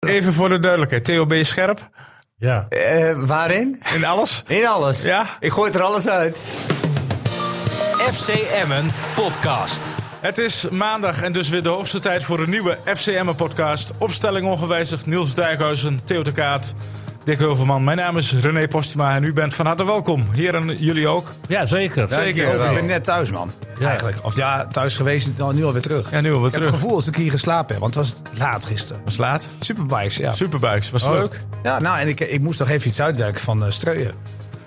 Even voor de duidelijkheid. Theo, ben je scherp? Ja. Eh, waarin? In alles? In alles. Ja. Ik gooi het er alles uit. FC Emmen podcast. Het is maandag en dus weer de hoogste tijd voor een nieuwe FCM-podcast. Opstelling ongewijzigd, Niels Dijkhuizen, Theo de Kaat, Dick Heuvelman. Mijn naam is René Postma en u bent van harte welkom. Hier en jullie ook. ja, zeker. Zeker. Ik wel. ben net thuis, man. Ja. Eigenlijk. Of ja, thuis geweest, dan nu alweer terug. Ja, nu alweer ik heb terug. het gevoel als ik hier geslapen heb, want het was laat gisteren. Was laat. Superbikes, ja. Superbikes, was het Oh. leuk? Ja, nou, en ik, ik moest nog even iets uitwerken van eh Streuer.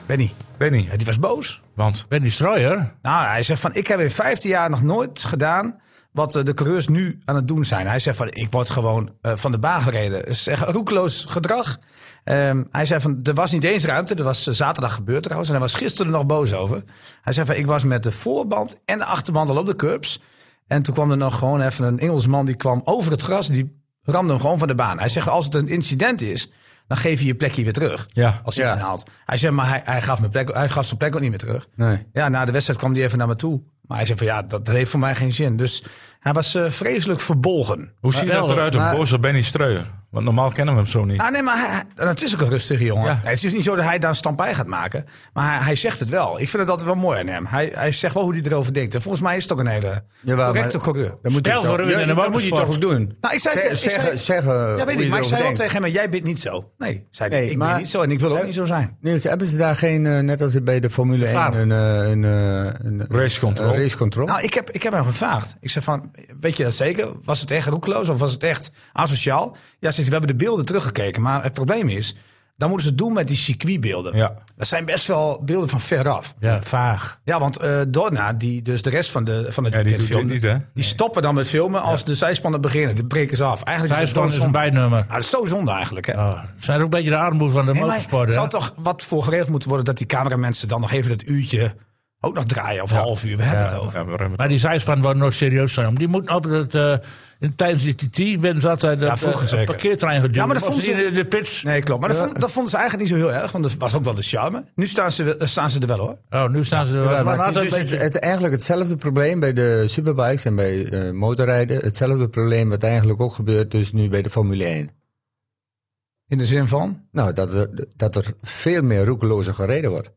Benny. Benny, Ja, die was boos. want Benny Strooier. Nou, hij zegt van, ik heb in 15 jaar nog nooit gedaan wat eh, de coureurs nu aan het doen zijn. Hij zegt van, ik word gewoon eh, van de baan gereden. Het is echt roekeloos gedrag. Ehm, hij zei van, er was niet eens ruimte. Dat was eh, zaterdag gebeurd trouwens. En hij was gisteren nog boos over. Hij zei van, ik was met de voorband en de achterband al op de curbs. En toen kwam er nog gewoon even een Engelsman die kwam over het gras. Die ramde hem gewoon van de baan. Hij zegt, als het een incident is, dan geef je je plekje weer terug. Ja. Als hij Ja. hem haalt. Hij zei, maar hij, hij, gaf mijn plek, hij gaf zijn plek ook niet meer terug. Nee. Ja, na de wedstrijd kwam hij even naar me toe. Maar hij zei van ja, dat, dat heeft voor mij geen zin. Dus hij was eh, vreselijk verbolgen. hoe ziet dat wel, eruit, een maar- boze Benny Streuer? Want normaal kennen we hem zo niet. Ah nee, maar hij, hij- het is ook een rustige jongen. Ja. Nee, het is niet zo dat hij daar een stampij gaat maken. Maar hij, hij zegt het wel. Ik vind het altijd wel mooi aan hem. Hij, hij zegt wel hoe hij erover denkt. En volgens mij is het ook een hele Jawel, correcte maar- coureur. Dan moet je Stel het voor toch- een winnende ja, dat moet je motorsport. toch ook doen. Nou, ik zei het- Zeg- ik zei- zeggen, zeggen. Ja, weet ik. Maar ik zei wel tegen hem, jij bent niet zo. Nee, zei hij. Nee, ik ben maar- niet zo en ik wil ook niet zo zijn. Niels, hebben ze daar geen, eh, net als bij de Formule 1, Vader. een, eh, een, eh, een Race control. een race control? Nou, ik heb, ik heb hem gevraagd. Ik zei van, weet je dat zeker? Was het echt roekeloos of was het echt asociaal? Ja, zegt, hij, we hebben de beelden teruggekeken. Maar het probleem is, dan moeten ze het doen met die circuitbeelden. Ja. Dat zijn best wel beelden van veraf. Ja, vaag. Ja, want eh Dorna, die dus de rest van, de, van het Ja, die weekend doet dit filmde, niet, hè? die stoppen dan met filmen als de zijspannen beginnen. Die breken ze af. Eigenlijk is het Zijspan is een dus doodzonde. bijnummer. Ah, dat is zo zonde eigenlijk, hè? Oh, zijn ook een beetje de armoede van de Nee, maar motorsport. hè? zou toch wat voor geregeld moeten worden dat die cameramensen dan nog even dat uurtje ook nog draaien of een half uur? We hebben het over. Ja, we remmen. Maar die zijspan wordt nooit serieus genomen. Die moet op het, eh, in, tijdens die TT werden ze altijd dat, vroeger eh, een zeker. parkeertrein geduwd. Ja, maar dat Of vonden ze- in de, de pits. Nee, klopt. Maar dat, vond- dat vonden ze eigenlijk niet zo heel erg, want dat was ook wel de charme. Nu staan ze, wel- eh, staan ze er wel hoor. Oh, nu staan ze... Ja, maar maar het, altijd is een dus beetje- het- het- eigenlijk hetzelfde probleem bij de superbikes en bij eh, motorrijden. Hetzelfde probleem wat eigenlijk ook gebeurt dus nu bij de Formule 1. In de zin van? Nou, dat er, dat er veel meer roekelozer gereden wordt.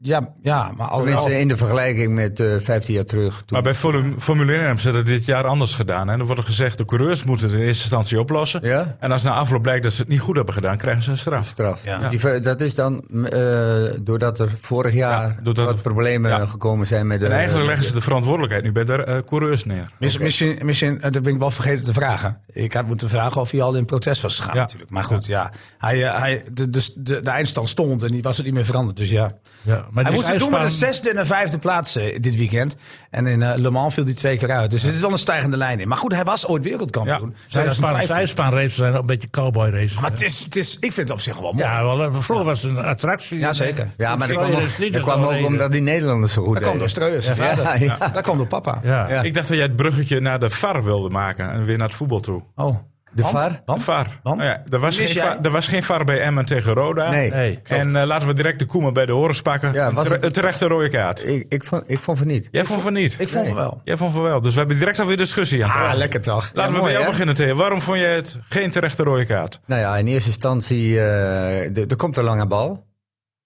Ja, ja maar al in al- Tenminste in de vergelijking met eh 15 jaar terug. Toen. Maar bij Formu- Formule 1 hebben ze dat dit jaar anders gedaan. En er wordt er gezegd, de coureurs moeten het in eerste instantie oplossen. Ja. En als na afloop blijkt dat ze het niet goed hebben gedaan, krijgen ze een straf. straf. Dus Ja. Die ver- dat is dan eh, doordat er vorig jaar doordat wat er- problemen ja. gekomen zijn met de. En eigenlijk leggen ze de verantwoordelijkheid nu bij de eh, coureurs neer. Miss- Misschien, misschien, eh, dat ben ik wel vergeten te vragen. Ik had moeten vragen of hij al in protest was gegaan Ja. natuurlijk. Maar goed, ja. Hij, eh, hij, de, de, de, de eindstand stond en die was er niet meer veranderd. Dus ja. Ja, maar die hij moest het doen met zijspan- de zesde en de vijfde plaats eh, dit weekend. En in eh, Le Mans viel hij twee keer uit. Dus er is wel een stijgende lijn in. Maar goed, hij was ooit wereldkampioen. Ja. Zijspan, 2015. zijspanraces zijn ook een beetje cowboy races. Maar het is, het is, ik vind het op zich wel mooi. Ja, wel, eh, vroeger was het een attractie. Ja, zeker. Ja, maar dat kwam, Strooier ook- is niet dat de kwam ook doorreden. omdat die Nederlanders zo goed dat kwam door deden. Streus, zijn Ja, vader. ja. Dat kwam door papa. Ja. Ja. Ik dacht dat jij het bruggetje naar de VAR wilde maken en weer naar het voetbal toe. Oh. De Want? VAR? Want? De VAR. Want? Nou ja, er, was Mis geen jij? VAR, er was geen VAR bij Emmen tegen Roda. Nee. Nee. En eh, laten we direct de Koeman bij de horens pakken. Ja, was Tere- het- Terechte rode kaart. Ik, ik, vond, ik vond van niet. Jij vond van niet. Ik vond het wel. Jij vond van wel. Dus we hebben direct alweer discussie aan Ah, tafel. lekker toch? Laten we mooi, bij jou hè? beginnen, Theo. Waarom vond je het geen terechte rode kaart? Nou ja, in eerste instantie, eh, de- er komt een lange bal.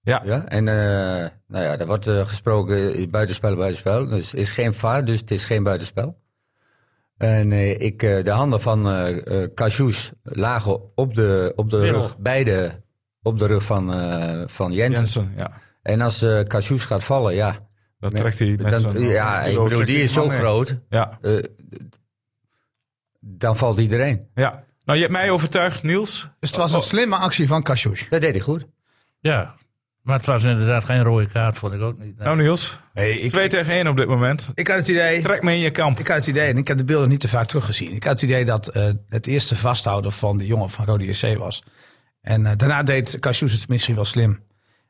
Ja. Ja? En eh, nou ja, er wordt eh, gesproken eh, buitenspel, buitenspel. Dus is geen vaar, dus het is geen buitenspel. En eh, ik, eh, de handen van eh eh Cajous lagen op de, op de Wimmel. rug, beide op de rug van, eh van Jensen. Jensen, ja. En als eh Cajous gaat vallen, ja. Dat trekt hij met dan- zijn... ja, ik bedoel, trekt die hij is zo man mee. groot. Ja, eh, d- dan valt iedereen. ja. Nou, je hebt mij overtuigd, Niels. Dus het was een slimme actie van Kassouche. Dat deed hij goed. Ja, maar het was inderdaad geen rode kaart, vond ik ook niet. Nee. Nou, Niels. Hey, ik, 2 tegen 1 op dit moment. ik had het idee... Trek me in je kamp. Ik had het idee, en ik heb de beelden niet te vaak teruggezien. Ik had het idee dat eh, het eerste vasthouden van de jongen van Rode JC was. En eh, daarna deed Cassius het misschien wel slim.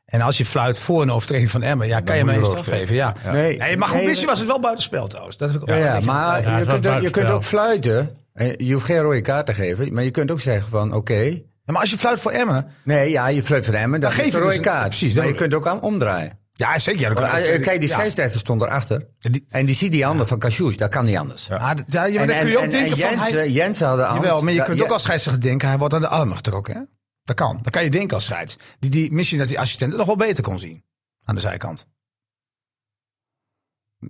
En als je fluit voor een overtreding van Emmen, ja, kan je moet hem je een rood straf geven. Ja. Ja. Nee. Nee, maar goed, Nee, misschien was het wel buitenspel trouwens. Dat heb ik ook Ja, wel een beetje maar verteld. Ja, je, het was kunt ook, je buitenspel. kunt ook fluiten. En Je hoeft geen rode kaart te geven. Maar je kunt ook zeggen van, oké. Ja, maar als je fluit voor Emmen, nee, ja, je fluit van Emmen. Dan, geef geef je je rode dus een- kaart. precies, maar dat je kunt ook aan omdraaien. Ja, zeker. Ja, dat kan Maar, eh, echt- Kijk, die ja. scheidsrechter stond erachter. Die- En die ziet die handen van Cassius, dat kan niet anders. Ah, d- ja, ja, maar En- dan kun je en- ook en- eh, denken en van... Jensen- hij, Jensen had de hand. jawel, maar je Ja, kunt ja, ook als scheidsrechter denken... hij wordt aan de armen getrokken, hè? Dat kan. Dat kan je denken als scheids. Die, die, misschien dat die assistent het nog wel beter kon zien. Aan de zijkant.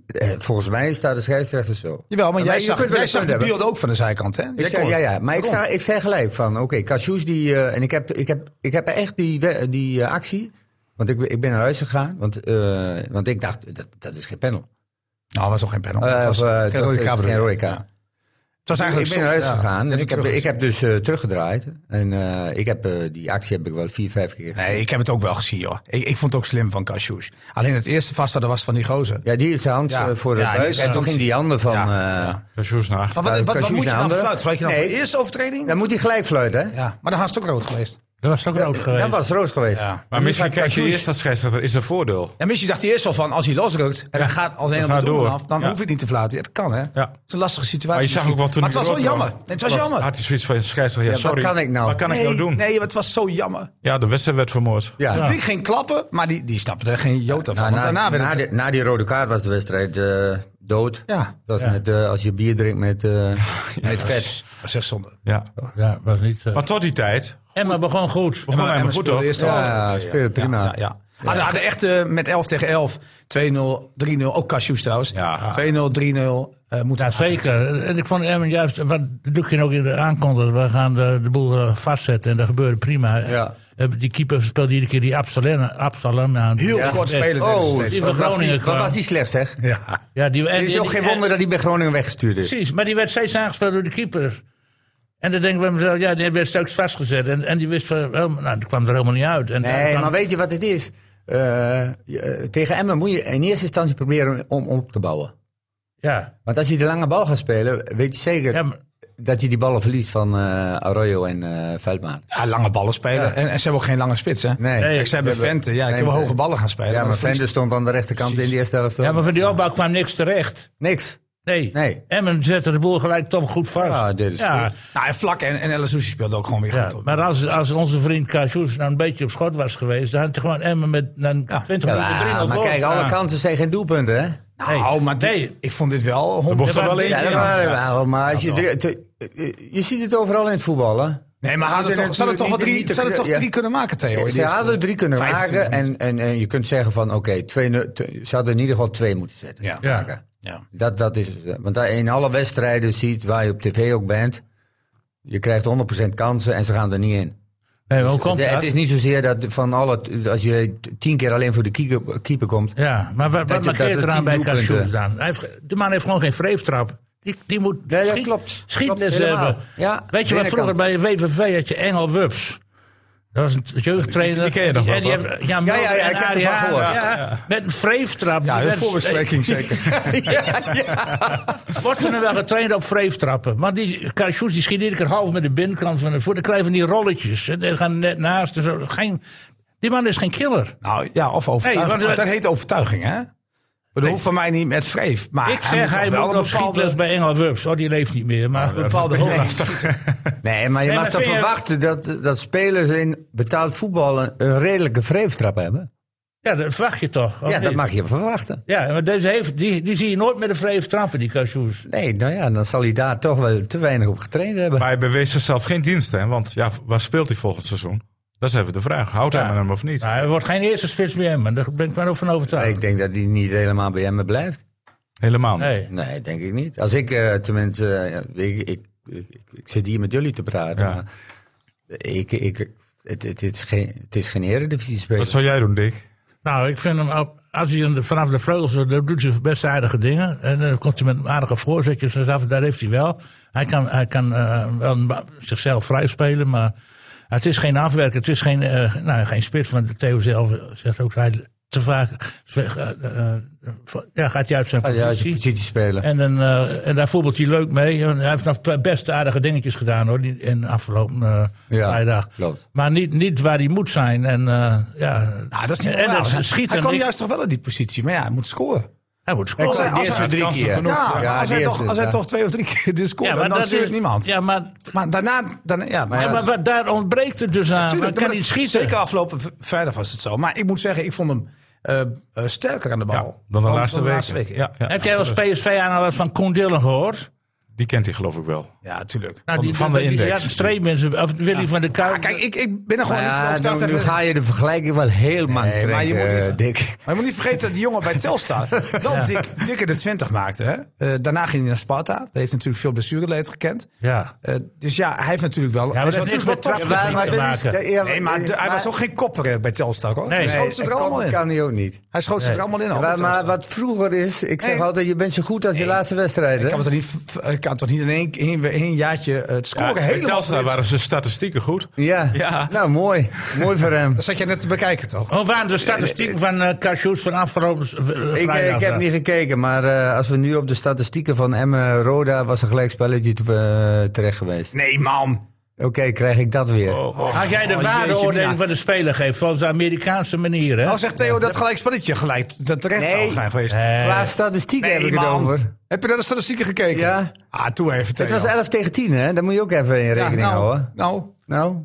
eh, Volgens mij staat de scheidsrechter zo. Jawel, maar, jij je zag, kunt wel jij een zag punt de hebben. beeld ook van de zijkant, hè? Jij Ik zei, kon- ja, ja, maar ik, kon. sta, ik zei gelijk van, oké, Cassius die... eh, en ik heb, ik, heb, ik heb echt die, we- die eh, actie... Want ik, ben- ik ben naar huis gegaan, want, eh, want ik dacht, dat, dat is geen panel. Nou, was nog geen panel. Eh, het was of, eh, geen het was- rode het was kaart, geen bedoel rode ik. kaart. Ja. Het was eigenlijk ik ben naar huis ja, gegaan net en ik heb, terug ik gezien. heb dus eh, teruggedraaid. En eh, ik heb, eh, die actie heb ik wel vier, vijf keer gezien. Nee, ik heb het ook wel gezien, joh. Ik, ik vond het ook slim van Cassius. Alleen het eerste vasthouden was van die gozer. Ja, die is zijn hand Ja. eh, voor de Ja, die buik. is En zijn toen hand- ging die handen van... Ja. eh, Ja. Dat is zo snaar. Maar wat, wat, wat Cassius moet je eh, naar dan handen. fluiten? Fluit je dan voor de Nee. eerste overtreding? Dan moet hij gelijk fluiten, hè? Ja, maar dan was het ook rood geweest. Dat was toch rood geweest. eh, Dat was rood geweest. Ja. En Maar nu misschien gaat kijk je Cassius- eerst dat scheidsrechter, is er voordeel? En misschien dacht hij eerst al van, als hij losrukt en hij gaat als een op gaat de doelman door. af, dan Ja. hoef je het niet te fluiten. Het kan, hè? Het Ja. is een lastige situatie Maar je zag misschien. ook wat toen Maar het die was wel rood jammer. was. Het was Wat- jammer. Had hij zoiets van scheidsrechter, ja, Ja, wat sorry. kan ik nou? Wat kan nee, ik nou doen? Nee, maar het was zo jammer. Het Ja, de wedstrijd werd vermoord. Ja. publiek ging klappen, maar die, die snapte er geen jota van. Nou, want na, daarna werd na het... die, na die rode kaart was de wedstrijd eh, dood. Ja. Dat was net eh, als je bier drinkt met, eh, met vet. Dat was echt zonde. Ja. Ja, was niet. eh Maar tot die tijd Emma begon goed. begon hij Emma maar goed speelde hoor. eerst al. Ja, speel prima. Ja, ja. Hadden, hadden echt eh, met 11 tegen 11, 2-0, 3-0. Ook Cassius trouwens. Ja. 2-0, 3-0. eh, moeten Ja, zeker. En ik vond Emmen juist, wat Dukkin ook in de aankondigde, we gaan de, de boel eh, vastzetten en dat gebeurde prima. Ja. Eh, Die keeper speelde iedere keer die Absalem, Absalem aan. Heel Ja. kort spelen. Oh, Oh, die wat van was, die, Groningen wat kwam. was die slecht, zeg? ja. Ja, die, en, Het is ook en- geen en- wonder dat hij bij Groningen weggestuurd is. Precies, maar die werd steeds aangespeeld door de keeper. En dan denk ik bij mezelf, ja, die werd straks vastgezet. En, en die wist, van, wel, nou, die kwam er helemaal niet uit. En dan Nee, kwam- maar weet je wat het is? Eh, je, eh, tegen Emmen moet je in eerste instantie proberen om om op te bouwen. ja, Want als je de lange bal gaat spelen, weet je zeker ja, maar- dat je die ballen verliest van eh Arroyo en eh Veldmaan. Ja, lange ballen spelen. En, en ze hebben ook geen lange spits, hè? Nee. Nee. Kijk, ze hebben Hebben- Vente. Ja, ik heb Vente. hoge ballen gaan spelen. Ja, maar maar dat verliest- Vende stond aan de rechterkant in de eerste helft. ja, maar van die opbouw kwam niks terecht. Niks. Nee. Nee. Emmen zette de boel gelijk toch goed vast. Ja, dit is ja, goed. Nou, en Vlak en, en El Arouzi speelden ook gewoon weer Ja, goed. op. maar als, als onze vriend Kajus nou een beetje op schot was geweest, dan had hij gewoon Emmen met dan 20 minuten Ja, 3 maar kijk, alle kansen zijn geen doelpunten, hè? nou, nee. maar dit- Nee. ik vond dit wel... honderd- mocht er Ja, wel maar- eentje Ja, in. dat waren wel, maar als je, drie- te- eh, je ziet het overal in het voetbal, hè? Nee, maar hadden Moeten toch, ze hadden toch wel natuurlijk drie, niet- ze hadden toch ja. drie kunnen maken, Theo? in de Ze eerste- hadden drie kunnen 25 maken en, en, en je kunt zeggen van, oké, twee nu- te- ze hadden in ieder geval twee moeten zetten. Ja. Ja. Maken. Ja. Dat, dat is, want dat je in alle wedstrijden ziet, waar je op tv ook bent, je krijgt 100% kansen en ze gaan er niet in. Nee, maar hoe komt Dus het dat? is niet zozeer dat van alle, als je t- tien keer alleen voor de keeper, keeper komt. Ja, maar wat, wat dat- dat markeert het er aan tien bij doelpunten- Kajus dan? Hij heeft, de man heeft gewoon geen vreeftrap. Die, die moet Nee, dat schiet- klopt. schietnis Klopt, helemaal. hebben. Ja, Weet je wat vroeger binnenkant. bij WVV had je Engel Wups. Dat was een jeugdtrainer. Die- die ken je nog wel, En die toch? heeft- Ja, ja, ja, ja, ik heb ervan gehoord. Met een vreeftrap. Die Ja, hun werd- voorbespreking zeker. Wordt er nou wel getraind op vreeftrappen. Maar die Kajus die schiet iedere keer half met de binnenkant van de voet. Dan krijgen die rolletjes. En die gaan net naast. En zo. Geen, die man is geen killer. Nou ja, of overtuiging. Nee, want- Want dat heet overtuiging, hè? Ik bedoel, hoeft van mij niet met vreef. Maar Ik zeg, hij wel moet een op schietles bij Engel Wubs. Oh, die leeft niet meer. Maar bepaalde hoogte Nee, Nee, maar je mag maar toch vind je- verwachten dat, dat spelers in betaald voetbal een, een redelijke vreeftrap hebben? ja, dat verwacht je toch? of Ja, dat niet? mag je verwachten. Ja, maar deze heeft, die, die zie je nooit met een vreef trappen, die Kajus. Nee, nou ja, dan zal hij daar toch wel te weinig op getraind hebben. Maar hij bewees zichzelf geen dienst, hè? Want ja, waar speelt hij volgend seizoen? Dat is even de vraag. Houdt hij Ja. met hem of niet? Nou, hij wordt geen eerste spits meer, maar daar ben ik wel van Nee, overtuigd. ik denk dat hij niet helemaal bij hem blijft. Helemaal niet. Nee. Nee, denk ik niet. Als ik eh, tenminste, eh, ik, ik, ik, ik zit hier met jullie te praten. Ja. Maar ik, ik, het, het, is geen, het is geen eredivisie speler. Wat zou jij doen, Dick? Nou, ik vind hem, op- als hij in de- vanaf de vleugels, dan doet hij best aardige dingen. En dan komt hij met aardige voorzetjes en af, daar heeft hij wel. Hij kan, hij kan eh, wel een ba- zichzelf vrij spelen, maar het is geen afwerken, het is geen, eh, nou, geen spits. Want Theo zelf zegt ook, hij te vaak eh, eh, ja, gaat hij uit zijn Ja, als je positie. positie spelen. En, dan, eh, en daar voetbalt hij leuk mee. En hij heeft nog best aardige dingetjes gedaan hoor, die- in de afgelopen eh, Ja, vrijdag. klopt. Maar niet, niet waar hij moet zijn. En, eh, ja, Nou, dat is niet en, en normaal. dat Hij- schieten Hij kwam niks. juist toch wel in die positie. Maar ja, hij moet scoren. Hij moet Als scoren. hij- als hij- drie kansen keer. genoeg. Ja, maar Ja, als hij, die toch, eerste, als hij ja. toch twee of drie keer dit scoort, dan, dan dat stuurt is- niemand. Ja, maar, Maar daarna... Dan, ja, maar ja, maar wat, daar ontbreekt het dus aan. Tuurlijk, Maar dan kan moet niet het- schieten. Zeker afgelopen v- vrijdag was het zo. Maar ik moet zeggen, ik vond hem eh, eh, sterker aan de bal. Ja, dan de laatste Oh. dan week. weken. Ja, ja, Heb jij als PSV aan wat van Koen Dillen gehoord? Die kent hij geloof ik wel. Ja, tuurlijk. Nou, Van- van de index. Ja, Streemens, of Willy van der Kuip. Ah, kijk, ik, ik ben er gewoon niet van Ja, overtuigd. nou, nu dat- ga je de vergelijking wel heel mank maar je trekken, moet eens- eh, Dick. Maar je moet niet vergeten dat die jongen bij Telstar wel dik, dikker de 20 maakte. Hè? Eh, daarna ging hij naar Sparta. Dat heeft natuurlijk veel blessureleed gekend. Ja. Eh, dus ja, hij heeft natuurlijk wel... maar hij is dat natuurlijk heeft niks wel met tof. trap te Ja, maar- maken. Nee, maar eh, de- hij was ook geen kopper eh, bij Telstar, hoor. Nee. hij Nee, schoot ze er allemaal in. kan hij ook niet. Hij schoot ze Nee. er allemaal in. al, bij maar, maar Telstar. wat vroeger is, ik zeg Nee. altijd, je bent zo goed als je laatste wedstrijd. Ik hè? kan het toch niet, v- ik kan toch niet in één, in één jaartje eh, het Ja, scoren bij helemaal... Telstra verliezen? waren zijn statistieken goed. Ja. Ja. nou mooi. Mooi voor hem. Dat zat je net te bekijken, toch? Hoe waren de statistieken van eh Cajous van afgelopen eh, Ik, eh, vrijdag? ik heb niet gekeken, maar eh, als we nu op de statistieken van Emmen Roda was een gelijkspelletje te- eh, terecht geweest. Nee, man. Oké, krijg ik dat weer. Oh, oh. Als jij de Oh, jeetje, Mina. waardeoordeling van de speler geeft, volgens de Amerikaanse manier, hè? Oh, Nou zegt Theo dat gelijkspelletje gelijk dat terecht Nee. zou zijn geweest. Eh, Qua statistieken Nee, heb ik het man. over. Heb je naar de statistieken gekeken? Ja. Ah, toe even, Theo. Het was 11 tegen 10, hè? Daar moet je ook even in Ja, rekening nou, houden. Nou, Nou,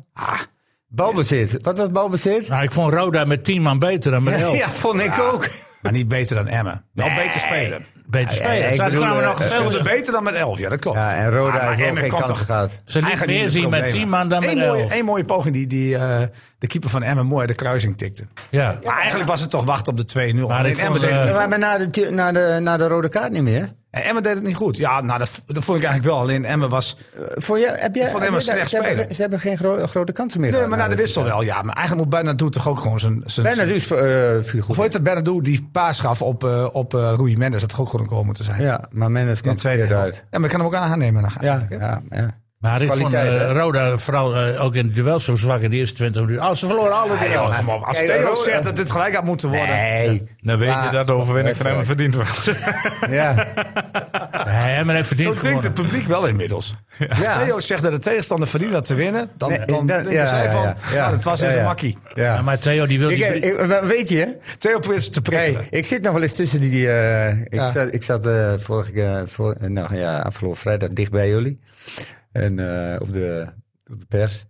balbezit. Wat was balbezit? nou, ik vond Roda met 10 man beter dan met 11. Ja, vond ik ook. Ah. maar niet beter dan Emmen. Wel beter spelen. Beter Ja, ja, spelen. ik Ze bedoel, kwamen eh, nog eh, veel Speelde beter dan met 11, ja, dat klopt. Ja, en Ah, Roda maar heeft ook Emmen geen kan kans toch- gehad. Ze liet Eigenlijk meer niet de zien met problemen. 10 man dan met Eén mooie, 11. één mooie poging die, die eh, de keeper van Emmen mooi uit de kruising tikte. Ja. Maar eigenlijk was het toch wachten op de 2-0. Maar ik Alleen vond, Emmen deed, eh, het We niet. waren na de, tu- na, de, na de rode kaart niet meer. En Emmen deed het niet goed. Ja, nou, dat, dat vond ik eigenlijk wel. Alleen Emmen was... Voor jou, heb jij, Ik vond hem heb een jij slecht daar- ze hebben speler. geen- Ze hebben geen gro- grote kansen meer. Nee, gehad maar nou, na de dit. wissel wel, ja. Maar eigenlijk moet Bernardo toch ook gewoon zijn... zijn Bijna dus eh viel goed. Of heet dat Bernardo die paas gaf op, eh op eh, Rui Mendes? Dat had toch ook gewoon een goal moeten zijn. Ja, maar Mendes In kwam de tweede tweede helft. uit. Ja, maar ik kan hem ook aan aannemen. Dan Ja, ja, ja. Maar ik vond kwaliteit, eh, hè? Roda vooral eh, ook in het duel zo zwak in de eerste 20 minuten. Oh, ze verloren alle Nee, duels. joh, kom op. Als Kijk, Theo Roda- zegt dat dit gelijk had moeten worden. Nee. Dan weet je Ah, Maar- dat de overwinning van hem Wedstrijd. verdiend was. Ja. Hij heeft even Zo verdiend denkt gewonnen. het publiek wel inmiddels. Als Ja. Theo zegt dat de tegenstander verdient dat te winnen, dan, Nee, dan dat- denken ja, zij ja, van, ja. nou, dat was Ja, dus een ja. makkie. Ja. Ja, maar Theo die wil die... Ik, eh, brie- ik- we- weet je, Theo probeert te prikkelen. hey, ik zit nog wel eens tussen die. eh, ik, Ja. zat, ik zat eh, vorige keer, voor, eh, nou ja, afgelopen vrijdag dicht bij jullie. En eh, op, de, op de pers.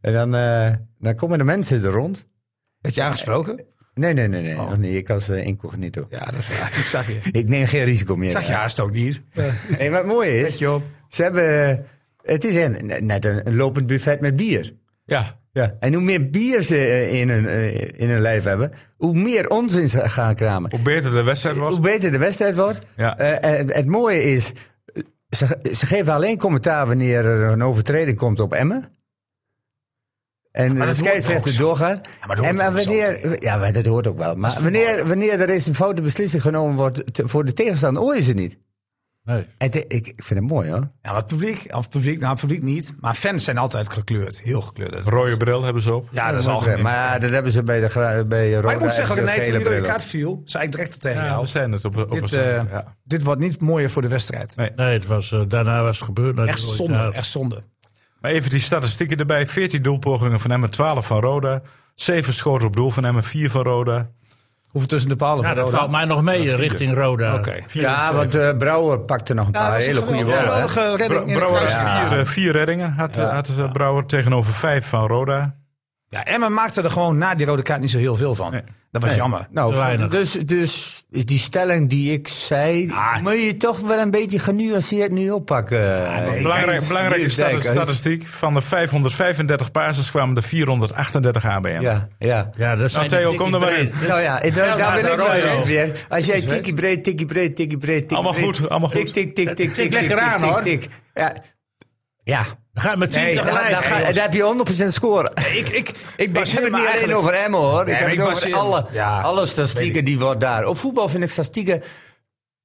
En dan, eh, dan komen de mensen er rond. Eh, Heb je aangesproken? Oh. Nee, nee, nee, nee. nog niet. Ik was eh, incognito. Ja, dat is waar. Ik zag je. Ik neem geen risico meer. Ik zag je haast ook niet. Hey, wat mooi is, je op. ze hebben. eh, Het is een, net een, een lopend buffet met bier. ja. Ja. En hoe meer bier ze eh, in hun, eh, in hun lijf hebben, hoe meer onzin ze gaan kramen. Hoe beter de wedstrijd was. Hoe beter de wedstrijd wordt. Ja. Eh, eh, het mooie is, eh, ze, ze geven alleen commentaar wanneer er een overtreding komt op Emmen. En dat de hoort ook scheidsrechter zo. doorgaat. maar dat hoort en maar ook zo wanneer, ja, maar dat hoort ook wel. Maar wanneer, wanneer er eens een foute beslissing genomen wordt te- voor de tegenstander, hoor je ze niet. Nee. Het, ik, ik vind het mooi hoor. Ja, maar het publiek, of het publiek, nou het publiek niet. Maar fans zijn altijd gekleurd. Heel gekleurd. Dat- Rode bril hebben ze op. Ja, dat is algemeen. Maar, Maar dat hebben ze bij, de, gra- bij Roda ik moet zeggen, hebben ze nee, toen die gele rode brillen. kaart viel, zei ik direct tegen Ja, we jou. zijn het op, op een Dit, stand, eh, ja. dit wordt niet mooier voor de wedstrijd. Nee, het was, eh, daarna was het gebeurd. Nou, Echt die rode zonde, kaart. echt zonde. Maar even die statistieken erbij. 14 doelpogingen van Emmen, 12 van Roda. 7 schoten op doel van Emmen, 4 van Roda. Hoeveel tussen de palen Ja, voor dat Roda? valt mij nog mee eh, richting Roda. Oké. Ja, want eh, Brouwer pakte nog een Ja, paar dat was hele een goede geweldige- ballen. hè? geweldige redding in de Brouwer had kruis. Ja. vier, eh, vier reddingen. Had, eh, had eh, Brouwer tegenover 5 van Roda. Ja, Emma maakte er gewoon na die rode kaart niet zo heel veel van. Dat was jammer. Nou, Te weinig. dus, dus is die stelling die ik zei, Ah. moet je toch wel een beetje genuanceerd nu oppakken. nee, Ik- Ah, Belangrijk, eens, belangrijke Niels stati- Dijkhuis. statistiek. Van de 535 passes kwamen er 438 ABM. Ja, ja. Ja, dat zijn Nou, Theo, de kom er maar tikkie in. breed. Nou ja, ik- daar, daar maar ben ik daarover. wel eens weer. Als jij tikkie breed, tikkie breed, tikkie breed, tikkie Allemaal breed. goed, allemaal goed. Tik, tik, tik, tik, Tik tik, lekker tik, aan, tik, hoor. tik. Ja, ja. Dan Ga je met 10 Nee, daar, tegelijk. daar ga- daar heb je 100% score. Ik, ik, ik baseer me heb het niet alleen eigenlijk- over Emmen hoor. Nee, ik heb maar het ik over baseer- alle, Ja, alle statistieken die wordt daar. Op voetbal vind ik statistieken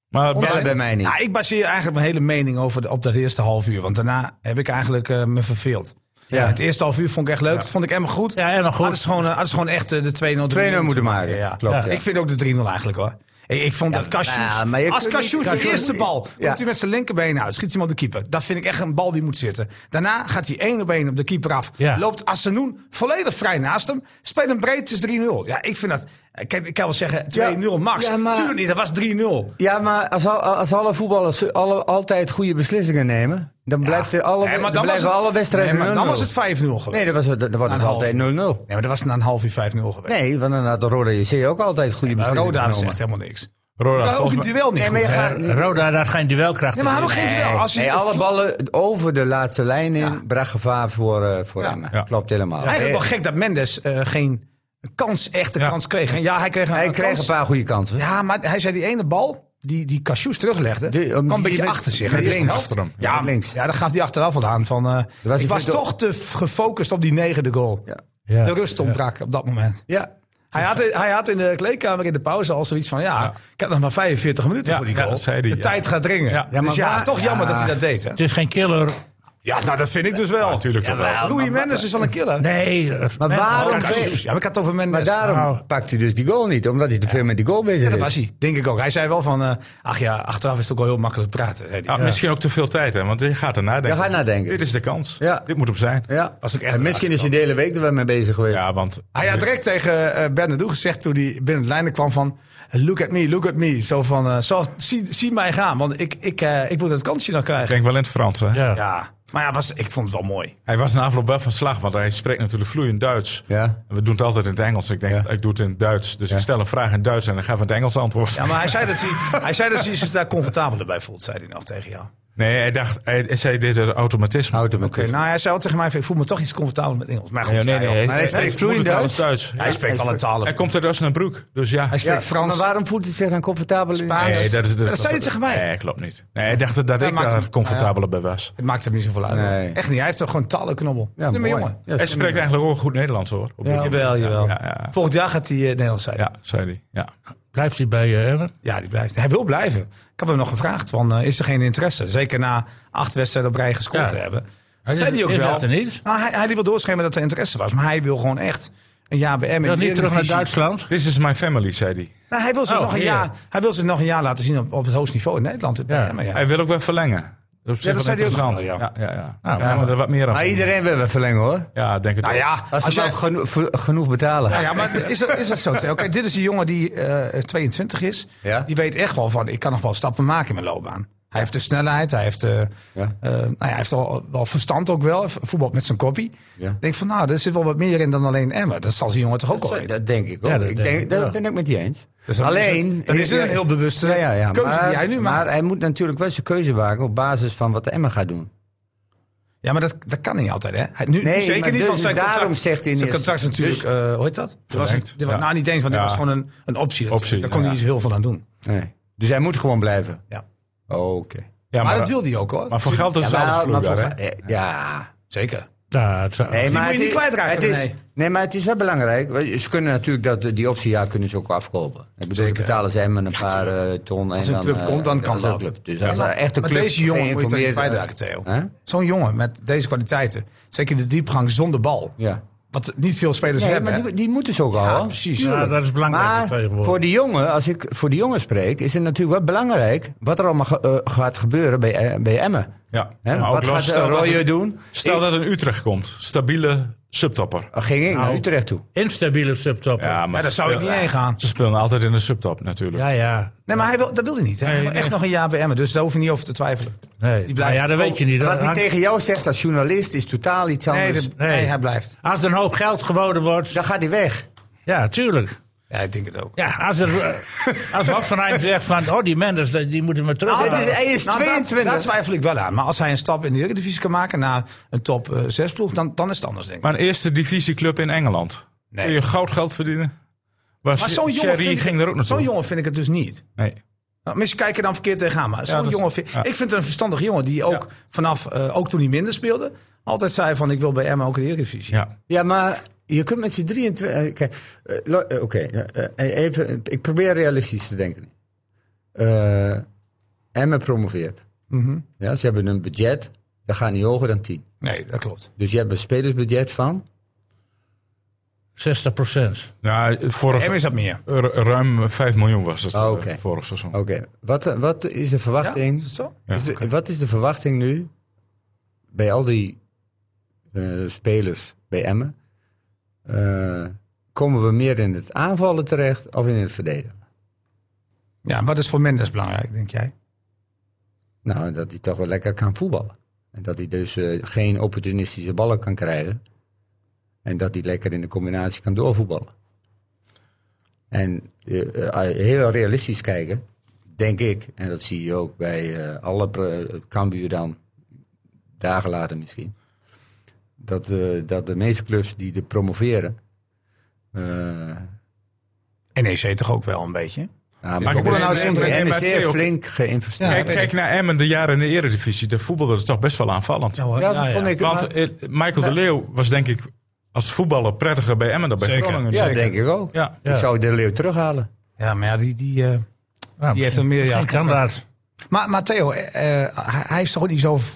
Maar tellen bij mij niet. Ja, Nou, ik baseer eigenlijk mijn hele mening over de- op dat eerste half uur. Want daarna heb ik eigenlijk eh, me verveeld. Ja. Het eerste half uur vond ik echt leuk. Dat vond ik Emma goed. Ja, Emmen goed. Hadden ze gewoon, eh, hadden ze gewoon echt eh, de 2-0 2-0 moeten moeten maken. Ja. Klopt, Ja. ja. Ik vind ook de 3-0 eigenlijk hoor. Ik, ik vond dat Cashews. nou, maar je als kunt niet- Cashews de Cassius- eerste bal. Ja. Komt hij met zijn linkerbeen uit. Schiet hij hem op de keeper. Dat vind ik echt een bal die moet zitten. Daarna gaat hij één op één op de keeper af. Ja. Loopt Assenoen volledig vrij naast hem. Speelt hem breed. Het is 3-0. Ja, ik vind dat. eh, Kijk, ik kan wel zeggen 2-0 max. Ja, maar- Tuurlijk niet. Dat was 3-0. Ja, maar als, al- als alle voetballers alle, altijd goede beslissingen nemen, Dan blijft er alle, Nee, maar dan dan was blijven het- alle wedstrijden nee, maar dan 0-0. was het 5-0 geweest. Nee, dan, was het, dan wordt het Aan half. altijd 0-0. Nee, maar dat was na een half uur 5-0 geweest. Nee, want dan had de Roda JC ook altijd goede Maar beslissingen Roda genomen. zegt helemaal niks. Roda, Maar ook volgens het mij- duel niet Nee, maar je goed. gaat- Eh, Roda had geen duelkracht. Nee, maar hadden geen duel. Als je Nee, alle ballen over de laatste lijn in bracht gevaar voor, eh voor Ja. Emmen. Ja. Klopt helemaal. Eigenlijk Hij- wel gek dat Mendes eh, geen kans, echte Ja. kans kreeg. En ja, hij kreeg een, hij een kreeg een kans. paar goede kansen. Ja, maar hij zei die ene bal die, die Cassius teruglegde, Die- kwam die een beetje met- achter zich. met in de eerste links. helft. Achter hem. Ja, Ja, met links. links. ja, dan gaf hij achteraf al aan van, eh, was ik hij was veel te- toch te f- gefocust op die negende goal. Ja. Ja. De rust ontbrak op dat moment. Ja. Hij had, hij had in de kleedkamer in de pauze al zoiets van, ja, ik heb nog maar 45 minuten Ja, voor die ja, goal. dat zei hij, de ja. tijd gaat dringen. Ja. Ja, dus ja, toch jammer dat hij dat deed. Hè? Het is geen killer. Ja, nou dat vind ik dus wel. Natuurlijk toch wel. Louis Mendes is wel een killer. Nee. Maar waarom- Oh, Cassius. Ja, maar ik had het over Mendes. Maar daarom Nou. pakt hij dus die goal niet. Omdat hij te veel met die goal bezig dus- Ja, dat was is. hij, denk ik ook. Hij zei wel van, eh, ach ja, achteraf is het ook wel heel makkelijk praten. zei Ja, hij. Misschien ook te veel tijd, hè? Want je gaat er nadenken. Je gaat nadenken. Dit is de kans. Ja. Dit moet hem zijn. Ja. Was ook echt en een misschien is laatste hij de hele week er wel mee bezig geweest. Ja, want Hij had direct tegen eh Bernardo gezegd toen hij binnen de lijnen kwam van... Look at me, look at me. Zo van, eh, zo, zie, zie mij gaan, want ik, ik, eh, ik moet het kansje dan ik krijgen. denk wel in het Frans. Hè? Ja. Ja, maar ja, was, ik vond het wel mooi. Hij was na afloop wel van slag, want hij spreekt natuurlijk vloeiend Duits. Ja. We doen het altijd in het Engels. Ik denk, ik doe het in het Duits. Dus ik stel een vraag in Duits en dan ga ik van het Engels antwoord. Ja, maar hij zei dat hij, hij, zei dat hij zich daar comfortabeler bij voelt, zei hij nog tegen jou. Nee, hij dacht, hij, hij zei dit is automatisme. Automatisch. Oké, nou, hij zei al tegen mij, ik voel me toch iets comfortabeler met Engels. Maar goed, Ja, nee, nee, hij, hij- Maar hij spreekt moet het vloeiend Duits. Duits. Ja. hij spreekt alle talen. Hij komt uit Osnabrück, dus ja. Hij spreekt Frans. Maar waarom voelt hij zich dan comfortabel in? Spaans. Nee, dat, is, Dat zei hij tegen mij. Nee, klopt niet. Nee, hij dacht dat, ik maakt daar hem- comfortabeler bij was. Het maakt hem niet zoveel uit. hoor. Nee. Echt niet, hij heeft toch gewoon talenknobbel. Ja, Ja, mooi. jongen. Ja, hij spreekt eigenlijk ook goed Nederlands hoor. Op dit moment. jawel, jawel. Ja, ja, Volgend jaar gaat hij eh, Nederlands zijn. Ja. ja, zei hij. Ja. Blijft hij bij eh, Emmen? die blijft. Hij wil blijven. Ik heb hem nog gevraagd, van, eh, is er geen interesse? Zeker na acht wedstrijden op rij gescoord Ja. te hebben. Hij zei is- hij ook is wel. dat er niet? Nou, hij, hij wil doorschemeren dat er interesse was. Maar hij wil gewoon echt een jaar bij M. Wil niet terug naar Duitsland? This is my family, zei hij. Nou, hij, wil zich Oh, nog een hier. jaar, hij wil zich nog een jaar laten zien op, op het hoogste niveau in Nederland. Ja. Ja, maar ja. Hij wil ook wel verlengen. Dat, is op zich Ja, dat wel zei hij ook interessant. nog wel, Ja, ja. ja, ja. Nou, Krijgen we er wat meer aan. Maar iedereen wil weer verlengen hoor. Ja, denk het Nou ook. ja, Als, als ze jij, maar geno- v- genoeg betalen. Nou ja, maar is dat, is dat zo? Theo? Kijk, dit is een jongen die eh, 22 is. Ja. Die weet echt wel van, ik kan nog wel stappen maken in mijn loopbaan. Hij heeft de snelheid, hij heeft, eh, Ja. eh, nou ja, hij heeft al, wel verstand ook wel. Voetbal met zijn kopie. Ja. Ik denk van, nou, er zit wel wat meer in dan alleen Emmen. Dat zal die jongen toch ook al weten. Dat denk ik ook. Ja, dat ik denk denk, ik, dat ja. dat ben ik met je eens. Dus dan is Alleen. het- dan is het een heel bewuste Ja, ja, ja. keuze die Maar- hij nu Maar maakt. hij moet natuurlijk wel zijn keuze maken op basis van wat Emma gaat doen. Ja, maar dat, dat kan niet altijd, hè? Hij- Nu, Nee, nu maar zeker niet, dus- want zijn daarom contract, zegt hij Dus- in zijn eerste- contract is natuurlijk, eh, hoe heet dat? Dat was, Verlengd, niet- dat was- ja. Nou, niet eens, want dit Ja. was gewoon een, een optie. Dat- Optie, Daar kon ja. hij niet zo heel veel aan doen. Nee. Dus hij moet gewoon blijven. Ja. Oké. Ja, Maar, dat wilde hij ook, hoor. Maar voor geld is het Ja, alles maar- maar vloeibaar, hè? voor- eh, ja. Zeker. Ja, het zou- Nee, moet je het niet is- kwijtraken, Het is, nee. nee, maar het is wel belangrijk. Want Ze kunnen natuurlijk dat, die optie ja, kunnen ze ook afkopen. Ik bedoel, Zeker. dan betalen ze hem een paar eh, ton. Als en een club eh, komt, dan kan als een dat. club. Dus Ja, als maar- er echt een maar club deze jongen moet je toch niet geïnformeerd- kwijtraken, Theo. Hè? Zo'n jongen met deze kwaliteiten, zeker de diepgang zonder bal, Ja. wat niet veel spelers Nee, hebben. maar hè? die, die moeten ze ook al. hoor. precies. Ja, dat is belangrijk Maar tegenwoordig. voor de jongen, als ik voor de jongen spreek, is het natuurlijk wel belangrijk wat er allemaal ge- eh, gaat gebeuren bij, eh, bij Emmen. Ja. Hè, Nou, Maar ook wat los, gaat stel dat Royer het- doen? Stel dat een Utrecht komt. Stabiele subtopper. Oh, Ging ik naar Nou. Utrecht toe. Instabiele subtopper. Ja, maar Ja, daar zou ik niet heen gaan. Ze spelen altijd in de subtop natuurlijk. ja. Nee, maar hij wil, dat wil hij niet. Hè? Hij Nee, wil echt nee. nog een jaar bij Emmen, dus daar hoef je niet over te twijfelen. Nee. Die Maar blijft ja, dat weet je niet. Dat Wat hij hangt- tegen jou zegt als journalist is totaal iets anders. Nee, dat- nee. nee, hij blijft. Als er een hoop geld geboden wordt. Dan gaat hij weg. Ja, tuurlijk. Ja, ik denk het ook. Ja, als, er, eh, als Hoffenheim zegt van, oh die Mendes, die die moeten we terug. Ah, het is- hij is Nou, daar- 22. Daar, twijfel ik wel aan. Maar als hij een stap in de Eredivisie kan maken naar een top 6 ploeg, dan, dan is het anders, denk ik. Maar een eerste divisieclub in Engeland. Nee. Kun je goud geld verdienen? Maar, Maar zo'n jongen, Sherry vind ik- ging er ook naartoe. zo'n jongen vind ik het dus niet. Nee. Nou, mensen kijken dan verkeerd tegenaan. Maar zo'n dat is- jongen vind, ja. Ik vind het een verstandig jongen die ook Ja. vanaf, eh, ook toen hij minder speelde, altijd zei van ik wil bij Emma ook in de Eredivisie. Ja. Ja, maar je kunt met z'n 23. Kijk, eh, lo- eh, oké, eh, eh, even. Ik probeer realistisch te denken. Eh Emmen promoveert. Mhm. ja, ze hebben een budget. Dat gaat niet hoger dan 10. Nee, dat klopt. Dus je hebt een spelersbudget van. 60 procent. Ja, vorig, Emma is dat meer. ru- ruim 5 miljoen was het Oh, eh, oké. vorig seizoen. Oké, wat, eh, wat is de Ja, verwachting? is dat zo? Ja, is de- oké. Wat is de verwachting nu bij al die eh, spelers bij Emmen? Eh, komen we meer in het aanvallen terecht of in het verdedigen? Ja, wat is voor Mendes belangrijk, denk jij? Nou, dat hij toch wel lekker kan voetballen. En dat hij dus eh, geen opportunistische ballen kan krijgen. En dat hij lekker in de combinatie kan doorvoetballen. En eh, eh, heel realistisch kijken, denk ik, en dat zie je ook bij eh, alle pro- Cambuur dan, dagen later misschien. Dat, eh, dat de meeste clubs die er promoveren. eh, NEC E toch ook wel een beetje? nou, Maar ik wil NEC er nou zeggen, nee, maar heeft Theo- flink geïnvesteerd. Kijk, kijk naar Emmen, de jaren in de eredivisie. Daar voetbalde het toch best wel aanvallend. hoor. Ja, dat vond ik. Want maar- eh, Michael de Leeuw was denk ik als voetballer prettiger bij Emmen dan bij Zeker. Groningen. ja, denk ik ook. Ja. Ik zou De Leeuw terughalen. Ja, maar ja, die, die, eh, Ja, die heeft een meerjarig Nou, kan contract. dat. Maar, maar Theo, eh, eh, hij- hij is toch ook niet zo... v-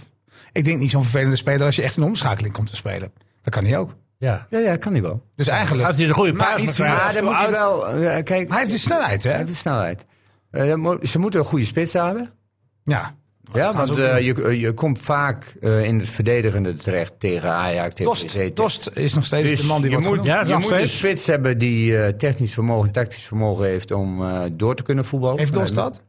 Ik denk niet zo'n vervelende speler als je echt een omschakeling komt te spelen. Dat kan hij ook. Ja. Ja, ja, kan hij wel. Dus eigenlijk... Als hij de goede Maar paas niet maakt, zo- ja, Maar veel dan moet je uit. wel. eh, kijk, Hij heeft de snelheid, hè? hij heeft de snelheid. Eh, dan moet- ze moeten een goede spits hebben. Ja. Ja, Oh, gaan ze want ook eh, doen. je, eh, je komt vaak eh, in het verdedigende terecht tegen Ajax, tegen PSV. Tost, Tost is nog steeds Dus de man die je wordt moet, genoemd. Ja, je nog moet een steeds. spits hebben die eh, technisch vermogen en tactisch vermogen heeft om eh, door te kunnen voetballen. Heeft Dost Eh, dat?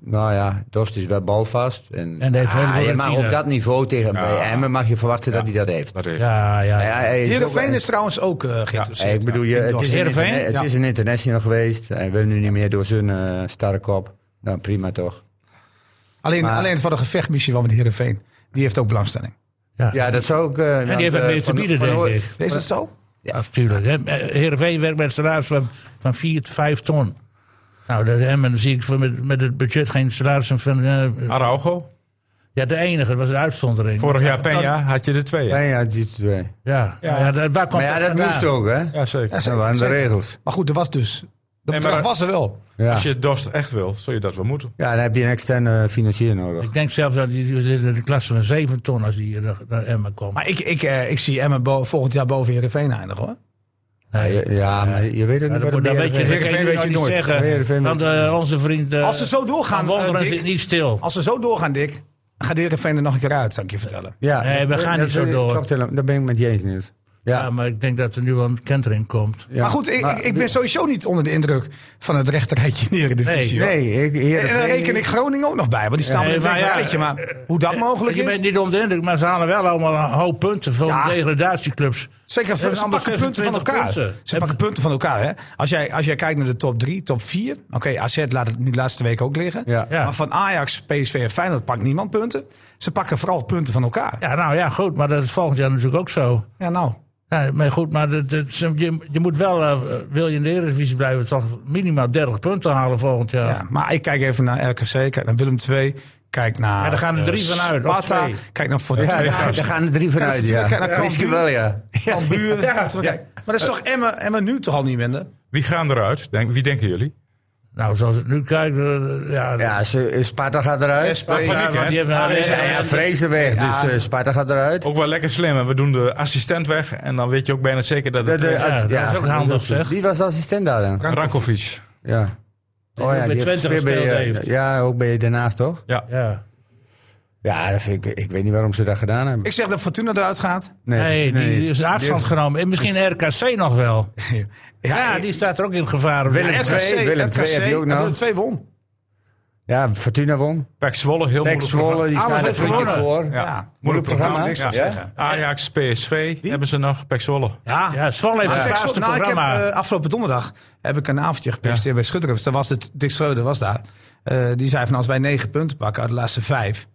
Nou ja, Dost is wel balvast. En, Ah, En heeft hele ja, maar routine. op dat niveau tegen bij Emmen mag je verwachten dat hij dat heeft. Dat heeft- Ja, ja. Ja, hij is ook- Heerenveen is trouwens ook eh Ja, geïnteresseerd. ik bedoel, je, het, is een, Heerenveen? interna- het Ja. is een international geweest. Hij wil nu niet meer door zijn eh, starre kop. Nou, prima toch. Alleen, Maar- alleen voor de gevechtmissie wel met Heerenveen. Die heeft ook belangstelling. Ja, dat zou ook... eh, nou, en heeft wat meer te bieden, denk ik. Is dat zo? Ja, natuurlijk. Hè. Eh, Heerenveen werkt met een salaris van, van 4 tot 5 ton. Nou, de Emmen zie ik voor met, met het budget geen salaris van... eh, Araujo, ja, de enige, dat was een uitzondering. vorig jaar Dan- Peña had je er twee. Ja, hè? ja, die twee. Ja, ja. dat, waar komt Maar ja, dat vandaan? moest ook, hè? Ja, zeker. Dat waren de zeker. regels. Maar goed, er was dus... Dat maar- bedrag was er wel. Ja. Als je Dost echt wil, zul je dat wel moeten. ja, dan heb je een externe financier nodig. Ik denk zelfs dat die, die zitten in de klasse van 7 ton als die hier naar, naar Emmen komt. Maar ik, ik, eh, ik zie Emmen bo- volgend jaar boven Heerenveen eindigen, hoor. nee, Ja, maar je weet het Ja, dat niet. wat moet- dat de weet je, dat kan BRV je Heerenveen nu weet nog je niet nooit. zeggen. Heerenveen Want eh, onze vriend eh, Als ze zo doorgaan, Van Wonderen eh, Dick- zit niet stil. Als ze zo doorgaan, Dick, dan gaat Heerenveen er nog een keer uit, zou ik je vertellen. Ja, eh, Nee, we gaan dat- niet zo dat door. klopt helemaal. Daar ben ik met je eens, Niels. Ja, ja, maar ik denk dat er nu wel een kentering komt. ja. Maar goed, ik, ik, ik ben sowieso niet onder de indruk van het rechterrijtje in de Eredivisie. hoor. Nee, ik, En en daar reken ik Groningen ook nog bij, want die staan Nee, met maar een ja, eh, rijtje. Maar hoe dat mogelijk je bent is, niet onder de indruk, maar ze halen wel allemaal een hoop punten van Ja. degradatieclubs. zeker hebben ze allemaal pakken punten van 26 elkaar. punten. Ze pakken punten van elkaar. Hè? Als, jij, als jij kijkt naar de top 3, top 4, oké, AZ laat het nu de laatste week ook liggen. Ja. Ja. Maar van Ajax, PSV en Feyenoord pakt niemand punten. Ze pakken vooral punten van elkaar. Ja, Ja, nou ja, goed, maar dat is volgend jaar natuurlijk ook zo. nou. Ja, maar goed, maar dat, dat is- je, je moet wel, eh, wil je in de Eredivisie blijven, toch minimaal 30 punten halen volgend jaar. Ja, maar ik kijk even naar RKC, kijk naar Willem II, kijk naar Ja, daar gaan er eh, drie van uit, of Sparta, twee. kijk naar Fortuna. Ja, daar, daar gaan er drie vanuit, ja. Kijk naar Cambuur. Misschien wel, ja. Cambuur. Ja. Ja. Maar dat is toch Emmen, Emmen nu toch al niet minder? Wie gaan eruit? Denk, wie denken jullie? Nou, zoals ik nu kijk, eh, ja, Ja, ze- Sparta gaat eruit. Wel paniek, want hè? die hebben een- Ja, ja, Vrezen weg, dus eh, Sparta gaat eruit. Ook wel lekker slim. En we doen de assistent weg. En dan weet je ook bijna zeker dat het... De- de- eh, dat is ook handig, dat zeg. Wie was de assistent daar dan? Rankovic. Ja. Oh bij Twente weer bij, gespeeld eh, heeft. Ja, ook bij Den Haag, toch? Ja. ja. Ja, dat vind ik, ik weet niet waarom ze dat gedaan hebben. Ik zeg dat Fortuna eruit gaat. Nee, die, die is afstand genomen. En misschien RKC nog wel. Ja, Ja, eh, die staat er ook in gevaar. Willem RKC, II, Willem RKC, II heb je ook nog. Willem II won. Ja, Fortuna won. Pek Zwolle, heel Pek moeilijk. Zwolle, die Alles staan er heeft puntje gewonnen. voor. programma. Ja. Ja. Moeilijk Moeilijk programma. programma. niks van Ja. zeggen. Ajax, PSV hebben ze nog. Pek Zwolle. Ja. Ja, Zwolle heeft Maar het kijk, zwaarste nou, ik heb, programma. eh, afgelopen donderdag heb ik een avondje gepresenteerd Ja. bij Schutterups. Daar was het, Dick Schreuder was daar. Eh, die zei van als wij negen punten pakken uit de laatste vijf.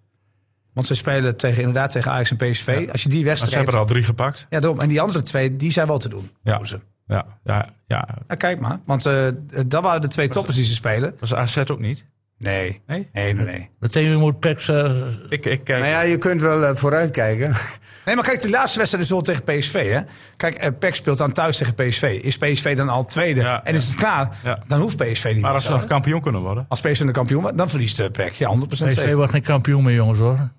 Want ze spelen tegen, inderdaad tegen Ajax en PSV. Als je die Maar ze wedstrijd... hebben er al drie gepakt. Ja, daarom. En die andere twee, die zijn wel te doen. Ja. Doen ze. Ja, ja, ja. Ja, kijk maar. Want eh, dat waren de twee toppers die ze spelen. Was AZ ook niet? Nee. Nee? Nee, nee, nee. Meteen weer moet Pex. eh, Ik, ik kijk. Nou ja, je kunt wel eh, vooruitkijken. Nee, maar kijk, de laatste wedstrijd is wel tegen PSV. Hè? Kijk, eh, PEC speelt dan thuis tegen PSV. Is PSV dan al tweede Ja, en ja. is het klaar, Ja. dan hoeft PSV niet maar meer als ze zo, nog hè? kampioen kunnen worden. Als PSV de kampioen wordt, dan verliest eh, PEC. Ja, 100% PSV zeker. E wordt geen kampioen meer, jongens hoor.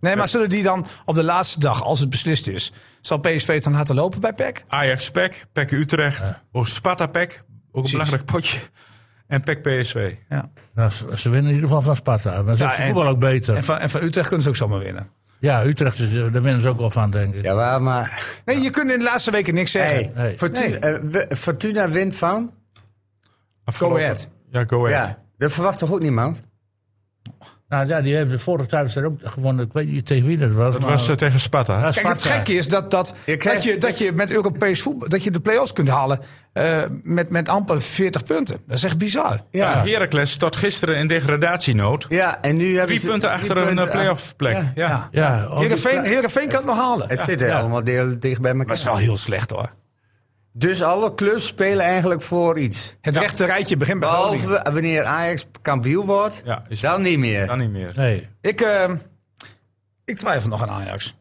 Nee, maar zullen die dan op de laatste dag, als het beslist is... zal PSV het dan laten lopen bij E PEC? Ajax, Pek, Pek Utrecht. Oh, Sparta, Pek. Ook een belangrijk potje. En Pek PSV. Ja. Nou, ze, ze winnen in ieder geval van Sparta. Maar ze Ja, is en- voetbal ook beter. En, van, en van Utrecht kunnen ze ook zomaar winnen. ja, Utrecht, is, eh, daar winnen ze ook wel van, denk ik. Ja, waar, maar... Nee, je kunt in de laatste weken niks zeggen. Hey, Nee. Fortuna, Nee. eh, we- Fortuna wint van... Afgelopen- Go Ahead. Ja, go ahead. Ja, dat verwacht toch ook niemand? Nou ja, die heeft de vorige thuiswedstrijd ook gewonnen. Ik weet niet tegen wie dat was. Dat maar- was eh, tegen Sparta. hè? Ja, Kijk, het Sparta. gekke is dat, dat, Je dat, krijgt- je, dat je met Europees voetbal dat je de play-offs kunt halen eh, met, met amper 40 punten. Dat is echt bizar. Ja, Ja, ja. Heracles stond gisteren in degradatienood. en nu hebben Drie ze... punten achter een punten- eh, play-off plek. Ja. ja. Ja, oh, die- Heerenveen, Heerenveen kan het nog halen. Het zit er Ja. allemaal deel, dicht bij elkaar. Dat is wel heel slecht hoor. Dus alle clubs spelen eigenlijk voor iets. Het rechte rijtje begint bij Groningen. Behalve wanneer Ajax kampioen wordt, Ja, is- dan niet meer. Dan niet meer. Nee. Ik, eh, ik twijfel nog aan Ajax.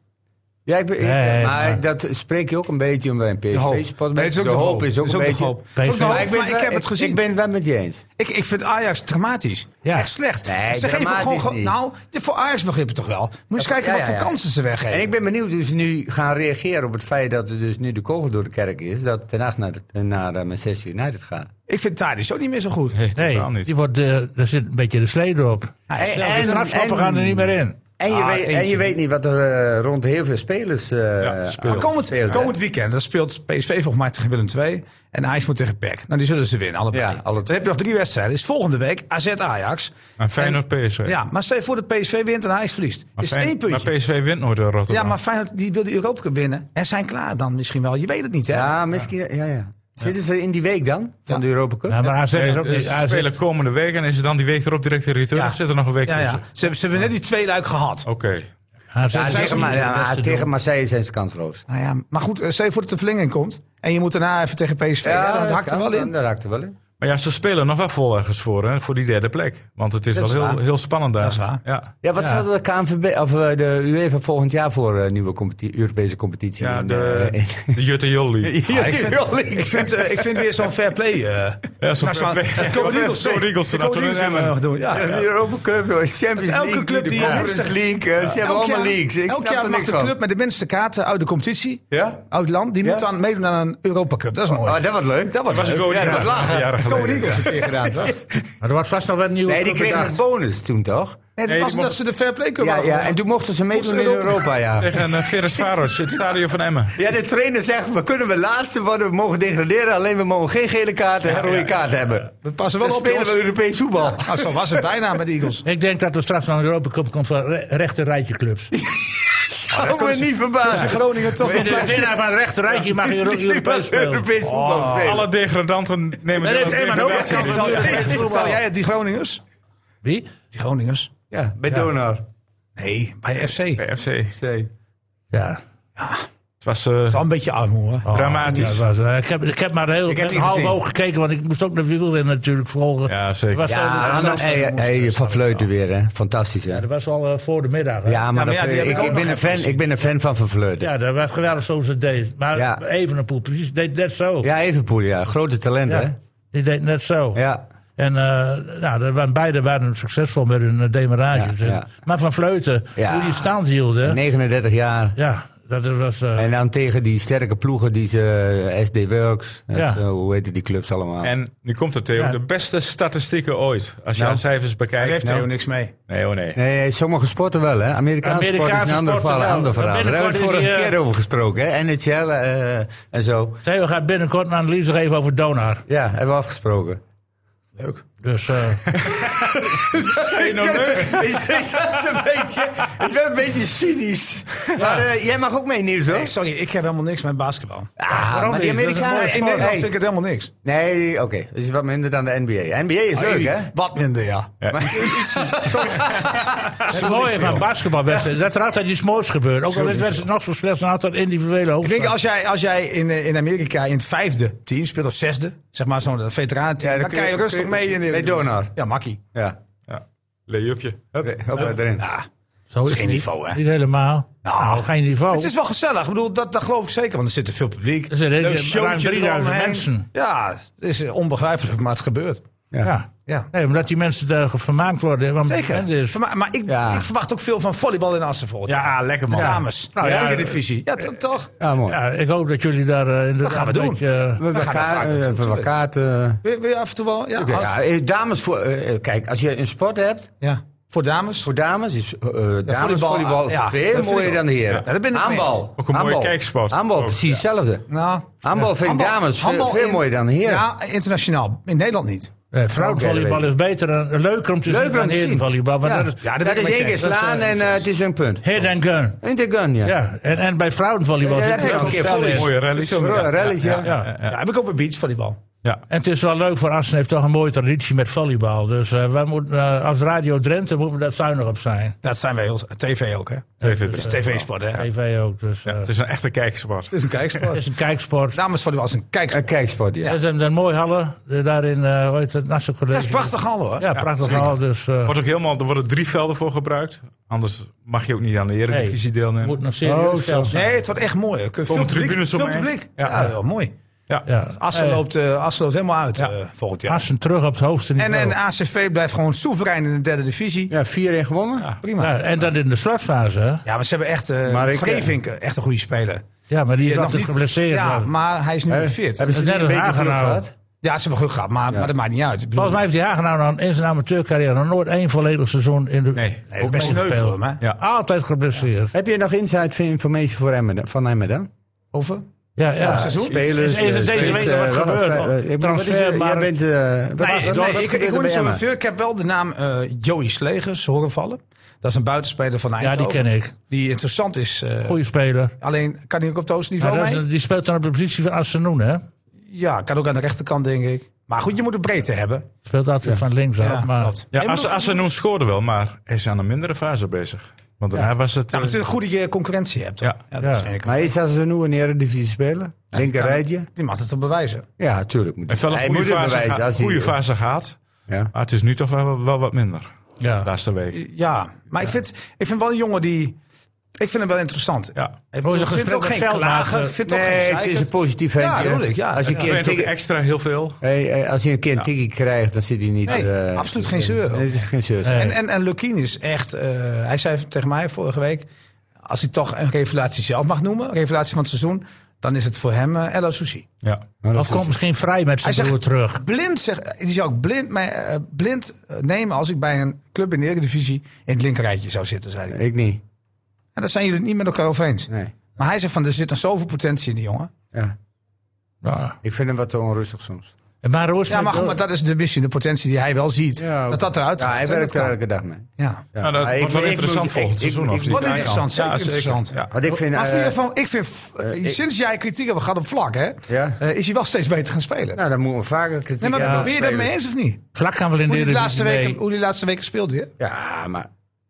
Ja, ik, ben- ik- Nee, maar maar- dat spreek je ook een beetje om bij een De hoop. PSV-spot. Nee, het is ook de hoop. is ook Het is een ook de beetje... hoop. Het is ook de Maar hoop, ik, ben maar ik wel- heb het gezien. Ik ben het wel met je eens. Ik, ik vind Ajax dramatisch. Ja. Echt slecht. Nee, ze geven dramatisch gewoon. ge- niet. Nou, voor Ajax begrippen toch wel. Moet je eens kijken ja, wat ja, voor ja. kansen ze weggeven. En ik ben benieuwd hoe ze nu gaan reageren op het feit dat er dus nu de kogel door de kerk is. Dat Ten Hag naar, de- naar eh, Manchester United gaat. Ik vind Tadic ook niet meer zo goed. Nee, totaal Nee, niet. die wordt, eh, daar zit een beetje de slede op. En- De en- strafschoppen en- gaan er niet meer in. En je, Ah, weet, en je eentje. weet niet wat er eh, rond heel veel spelers eh Ja, speelt. aan- Maar komend, speelt, hè? komend weekend, dan speelt PSV volgens mij tegen Willem II. En Ajax moet tegen PEC. Nou, die zullen ze winnen, allebei. Ja, alle Dan heb je nog drie wedstrijden. Is volgende week AZ-Ajax. En Feyenoord PSV. Ja, maar stel je voor dat PSV wint en Ajax verliest. maar, is het Fey- één puntje. maar E PSV wint nooit in Rotterdam. ja, maar Feyenoord die wil de Europa Cup winnen. En zijn klaar dan misschien wel. Je weet het niet, hè? Ja, misschien. Ja, ja. Zitten ze in die week dan? Van Ja. de Europa Cup? Ja, maar AZ Nee, is ook ze niet... AZ spelen komende week en is het dan die week erop direct de return? Ja. Of zit er nog een week Ja, ja. tussen? Ze, hebben- ze hebben net die twee luik gehad. Oké. AZ Ja, is ook tegen, niet Ma- de ja, beste tegen doel. Marseille zijn ze kansloos. Nou ja, maar goed, eh, stel je voor dat de verlenging komt. En je moet daarna even tegen PSV. Ja, dat hakt er kan, wel dan- in. Dat hakt er wel in. Maar ja, ze spelen nog wel vol ergens voor, hè, voor die derde plek. Want het is Dat is wel heel, waar. heel spannend daar. Dat is waar. Ja, Ja, wat Ja. staat er de KNVB, of eh, de UEFA volgend jaar voor eh, nieuwe competi- Europese competitie? ja in, de, eh, in- de Jutte Jolli. Ja, ik, die vind, wil ik. ik, vind, eh, ik vind weer zo'n fair play. eh Ja, zo'n fair Nou, zo'n- play. Code Zo'n Eagles, Code nee. Eagles, De laten Code we Eagles hem- hebben we nog doen. Ja, Ja, ja. de Europa Cup, de Champions elke League, club de die het Conference minste- League. eh, ze hebben Elk allemaal jaar- leagues. Ik elk snap jaar er mag niks de van. club met de minste kaarten uit de competitie, Ja? uit land, die Ja. moet dan meedoen aan een Europa Cup. Dat is mooi. Oh, dat wordt leuk. Dat wordt was leuk. een Go Ja, dat Eagles. was lachen. Jaren Go geleden, Eagles een keer gedaan, toch? Maar er wordt vast nog wel een nieuwe Nee, die club kregen een bedacht. bonus toen, toch? nee, dat Nee, was die omdat mocht- ze de fair play kunnen Ja, ja, en toen mochten ze meedoen in Europa. Europa, ja. Tegen uh, Veres Varos, het stadion van Emmen. Ja, de trainer zegt, we kunnen we laatste worden, we mogen degraderen, alleen we mogen geen gele kaart en rode kaart hebben. We passen wel Dan op, spelen we jongens. Europees voetbal. Nou, zo was het bijna met de Eagles. Ik denk dat er straks nog een Europa Cup komt van re rechte rijtje clubs. Hou me niet Ze verbaasd. Groningen toch nog De winnaar van het rechte rijtje mag in Euro- Europees spelen. Europees Oh. voetbal spelen. Alle degradanten nemen Dat deel heeft aan Emmen ook degradatie. wel gedaan. Vertel jij het, die Groningers? Wie? Die Groningers? Ja, bij Donar. Nee, bij FC. Het Bij FC. Het Ja. was eh, is wel een beetje armoe, hoor. Oh, dramatisch. ja, dat was, eh, ik, heb, ik heb maar heel, Ik heb met die half gezien. oog gekeken, want ik moest ook de wielrennen natuurlijk volgen. Ja, zeker. Er was al- Ja, nou, er was, al- hey, hey, Van Vleuten weer, hè. Fantastisch, hè. er was al eh, voor de middag. hè. Ja, maar, maar dat- ja, die heb ik, ik ook ik, ben nog een fan, ik ben een fan van Van Vleuten. Ja, Ja, dat was geweldig zoals het deed. Maar Ja. Evenepoel, precies, deed net zo. Evenpoel, ja. Grote talent, Ja, hè. Die deed net zo. Ja. En eh, nou, dat waren, beide waren succesvol met hun eh, demarages. Ja, En- ja. Maar Van Vleuten, Ja. hoe die stand hield, hè? 39 jaar. Ja, dat was... eh, En dan tegen die sterke ploegen, die ze, eh, SD Works, en Ja. zo, hoe heet die clubs allemaal. En nu komt het, Theo. Ja. De beste statistieken ooit. Als je Nou. haar cijfers bekijkt. Daar heeft Nou. Theo niks mee. Nee, oh nee. Nee, sommige sporten wel, hè? Amerikaanse, sporten is Amerikaanse een ander sporten verhaal. wel. ander verhaal. Daar hebben we het Binnenkort vorige is eh, die, keer over gesproken, hè? NHL eh, en zo. Theo gaat binnenkort een analyse geven over Donar. Ja, hebben we afgesproken. Dus eh, Ik zat een beetje, het is wel een beetje cynisch. Maar eh, jij mag ook mee, Niels, hoor. Nee, sorry, ik heb helemaal niks met basketbal. Ah, maar die niet? Dat is een Amerikanen... mooie In nee, Nederland vind ik het helemaal niks. nee, oké. Dat is wat minder dan de NBA. NBA is leuk, hè? Wat minder, ja. het mooie van basketbalwedstrijden, dat er altijd iets moois gebeurt. Ook al is het nog zo slecht, dan altijd individuele Ik denk hoofdstukken. als jij, als jij in, eh, in Amerika in het vijfde team speelt, of zesde, zeg maar zo'n veteranenteam, Ja, dan, dan kun kan je, je- rustig kun je- mee in de. bij Donar. Ja, makkie. Ja. Ja. Layupje. Hup. Oké, Hoppa, erin. Ja. Zo is is geen het niveau, hè? Niet helemaal. Nou, Nou, geen niveau. Het is wel gezellig, ik bedoel, dat, dat geloof ik zeker, want er zit er veel publiek. Er zitten ruim showtje 3000 eromheen. mensen. Ja, het is eh, onbegrijpelijk, maar het gebeurt. ja. Ja. Nee, omdat die mensen daar vermaakt worden. Want dus- het Zeker. is- Verma- maar ik, Ja. ik verwacht ook veel van volleybal in Assen bijvoorbeeld. Ja, lekker man. Dames, Nou ja, Eredivisie. Ja, to- toch? Ja, mooi. ja, ik hoop dat jullie daar eh, inderdaad gaan we doen. een beetje... We gaan elkaar, er vaak eh, naartoe, we tuurlijk. elkaar, eh, Wil wil je af en toe wel? Ja, Oké, als- ja, eh, dames voor, eh, eh, kijk, als je een sport hebt ja. Voor dames? voor dames is eh, eh, dames volleybal, volleybal, ja, dat veel vind ik mooier ook. dan de heren. Ja, daar ben ik mee Handbal. eens. Ook een mooie Handbal. kijksport. Handbal, Ook, precies hetzelfde. Nou, Handbal vind ik dames veel, handbal veel in- mooier dan de heren. Ja, internationaal. In Nederland niet. Eh vrouwenvolleybal is beter en leuker om te Leuker zien dan om te zien. herenvolleybal. Want Ja, dat is ja, dat is één keer slaan en eh, het is een punt. hit and gun. Een keer gun, ja. Ja, en, en bij vrouwenvolleybal Ja, zit dat het heb ik wel een keer spel volley. in. Mooie rallies. Zo'n ro- rallies, ja. Ja. Ja, heb ik op een beach volleybal. Ja. En het is wel leuk voor Assen heeft toch een mooie traditie met volleybal. Dus eh, wij moeten, eh, als Radio Drenthe moeten we daar zuinig op zijn. Dat zijn wij ons. TV ook, hè? Even- Het is eh, tv-sport, hè? TV ook. Dus, eh, Het is een echte kijksport. is een het kijksport. is een kijksport. Namens volleybal is een kijksport. Een kijksport, ja. Ja, Ze hebben een mooi hallen eh, daar in eh, hoe heet het Nassau College. Dat is prachtig allemaal, hoor. Ja, prachtig hal. Dus eh, Wordt ook helemaal, er worden drie velden voor gebruikt. Anders mag je ook niet aan de eredivisie hey, deelnemen. moet nog serieus Oh, geld zijn. Nee, het wordt echt mooi. Er kunnen Komen veel publiek- tribunes veel omheen. publiek. Ja. Ja, wel mooi. ja. Ja. Assen, Hey, loopt, eh, Assen loopt helemaal uit Ja. eh, volgend jaar. Assen terug op het hoogste En, niveau. en ACV blijft gewoon soeverein in de derde divisie. Ja, 4-1 gewonnen. Prima. Ja. ja, en dat in de slotfase. hè? maar ze hebben echt... eh Maar ik- Geevink, eh, echt een goede speler. Ja, maar die is Nog altijd niet- geblesseerd. Ja, maar- maar hij is nu Hè? fit. Eh, Hebben ze Dat die is een net beetje als geluk Hagenau. gehad? Ja, ze hebben geluk gehad, maar, maar dat maakt niet uit. Ik bedoel, Volgens mij heeft die Hagenau nou in zijn amateurcarrière nog nooit één volledig seizoen in de. Nee, nee, het is best meegespeeld. sneu voor hem, hè? Ja. Altijd geblesseerd. Heb je nog insight informatie voor Emmen, van Emmen dan? Over? Ja, ja. seizoen? Is, is eh, het deze spelers, week eh, wat wel een gebeurd? vrij- eh, ik bedoel, wat is er- Transfermarkt. Jij bent... eh, wat- Nee, nee, wat- wat ik, gebeurt ik er hoor bij niet zo Emmen? veel. Ik heb wel de naam eh, Joey Slegers horen vallen. Dat is een buitenspeler van Ja, Eindhoven. die ken ik. Die interessant is. eh, Goeie speler. alleen kan hij ook op het hoogste Maar niveau dat is mee? een- die speelt dan op de positie van Assenoen, hè? Ja, kan ook aan de rechterkant, denk ik. Maar goed, je moet een breedte hebben. Speelt altijd van links af. Ja, maar klopt. Ja, En As- moet- Asenoen scoorde wel, maar hij is aan een mindere fase bezig. Want daarna was het... Nou, eh, het is goed dat je concurrentie hebt. hoor. Ja. dat Ja. is geen- Maar is dat een nieuwe eredivisie speler? Linker rijtje? Die mag het toch bewijzen. Ja, tuurlijk. Moet heeft wel een Hij goede moet het fase, bewijzen geha- als hij- goede fase gehad. Ja. Maar het is nu toch wel, wel wat minder. Ja. De laatste week. Ja, maar Ik, vind, ik vind wel een jongen die... Ik vind hem wel interessant. Ja. Ik Hoe is het vind gesprek het ook met geen Veldmaat, klagen. eh, Ik vind het ook geen Nee, het zeikert. is een positief Ja, ventje. tuurlijk, ja. Als je een Ik keer een weet ook tikkie- extra heel veel. Hey, hey, als hij een keer een tikkie krijgt, dan zit hij niet... Nee, eh, absoluut geen zeur. Nee, het is geen zeur. Nee. En, en, en Lukien is echt... eh, hij zei tegen mij vorige week... Als hij toch een revelatie zelf mag noemen... revelatie van het seizoen... dan is het voor hem eh El Sushi. Ja. Of komt misschien vrij met Hij zijn zegt broer terug. Blind, zeg, die zou ik blind, mij, eh, blind eh, nemen als ik bij een club in de Eredivisie in het linkerrijtje zou zitten, zei hij. Ik niet. En daar zijn jullie het niet met elkaar over eens. Nee. Maar hij zei van, er zit nog zoveel potentie in die jongen. Ja. Ja. Ik vind hem wat te onrustig soms. Maar hoe is het Ja, maar met- goed, maar dat is de missie, de potentie die hij wel ziet. Ja, dat dat eruit Ja, gaat. hij hè, werkt dat eh, er kan. elke dag mee. Ja. Ja. Nou, dat Maar ik- wordt wel ik interessant moet- volgend ik- seizoen, ik- of ik niet? moet- Wat interessant, zeker Ja, zeker. interessant. Ja. Want ik vind... Maar vind eh, je van, ik vind, eh, ik- sinds jij kritiek hebt gehad op vlak, hè, Ja. eh, is hij wel steeds beter gaan spelen. Nou, dan moeten we vaker kritiek nee, maar hebben op ben je dat mee spelers. eens of niet? Vlak gaan we in Hoe de die, laatste Eredivisie mee. weken, hoe die laatste weken speelt weer. Ja, maar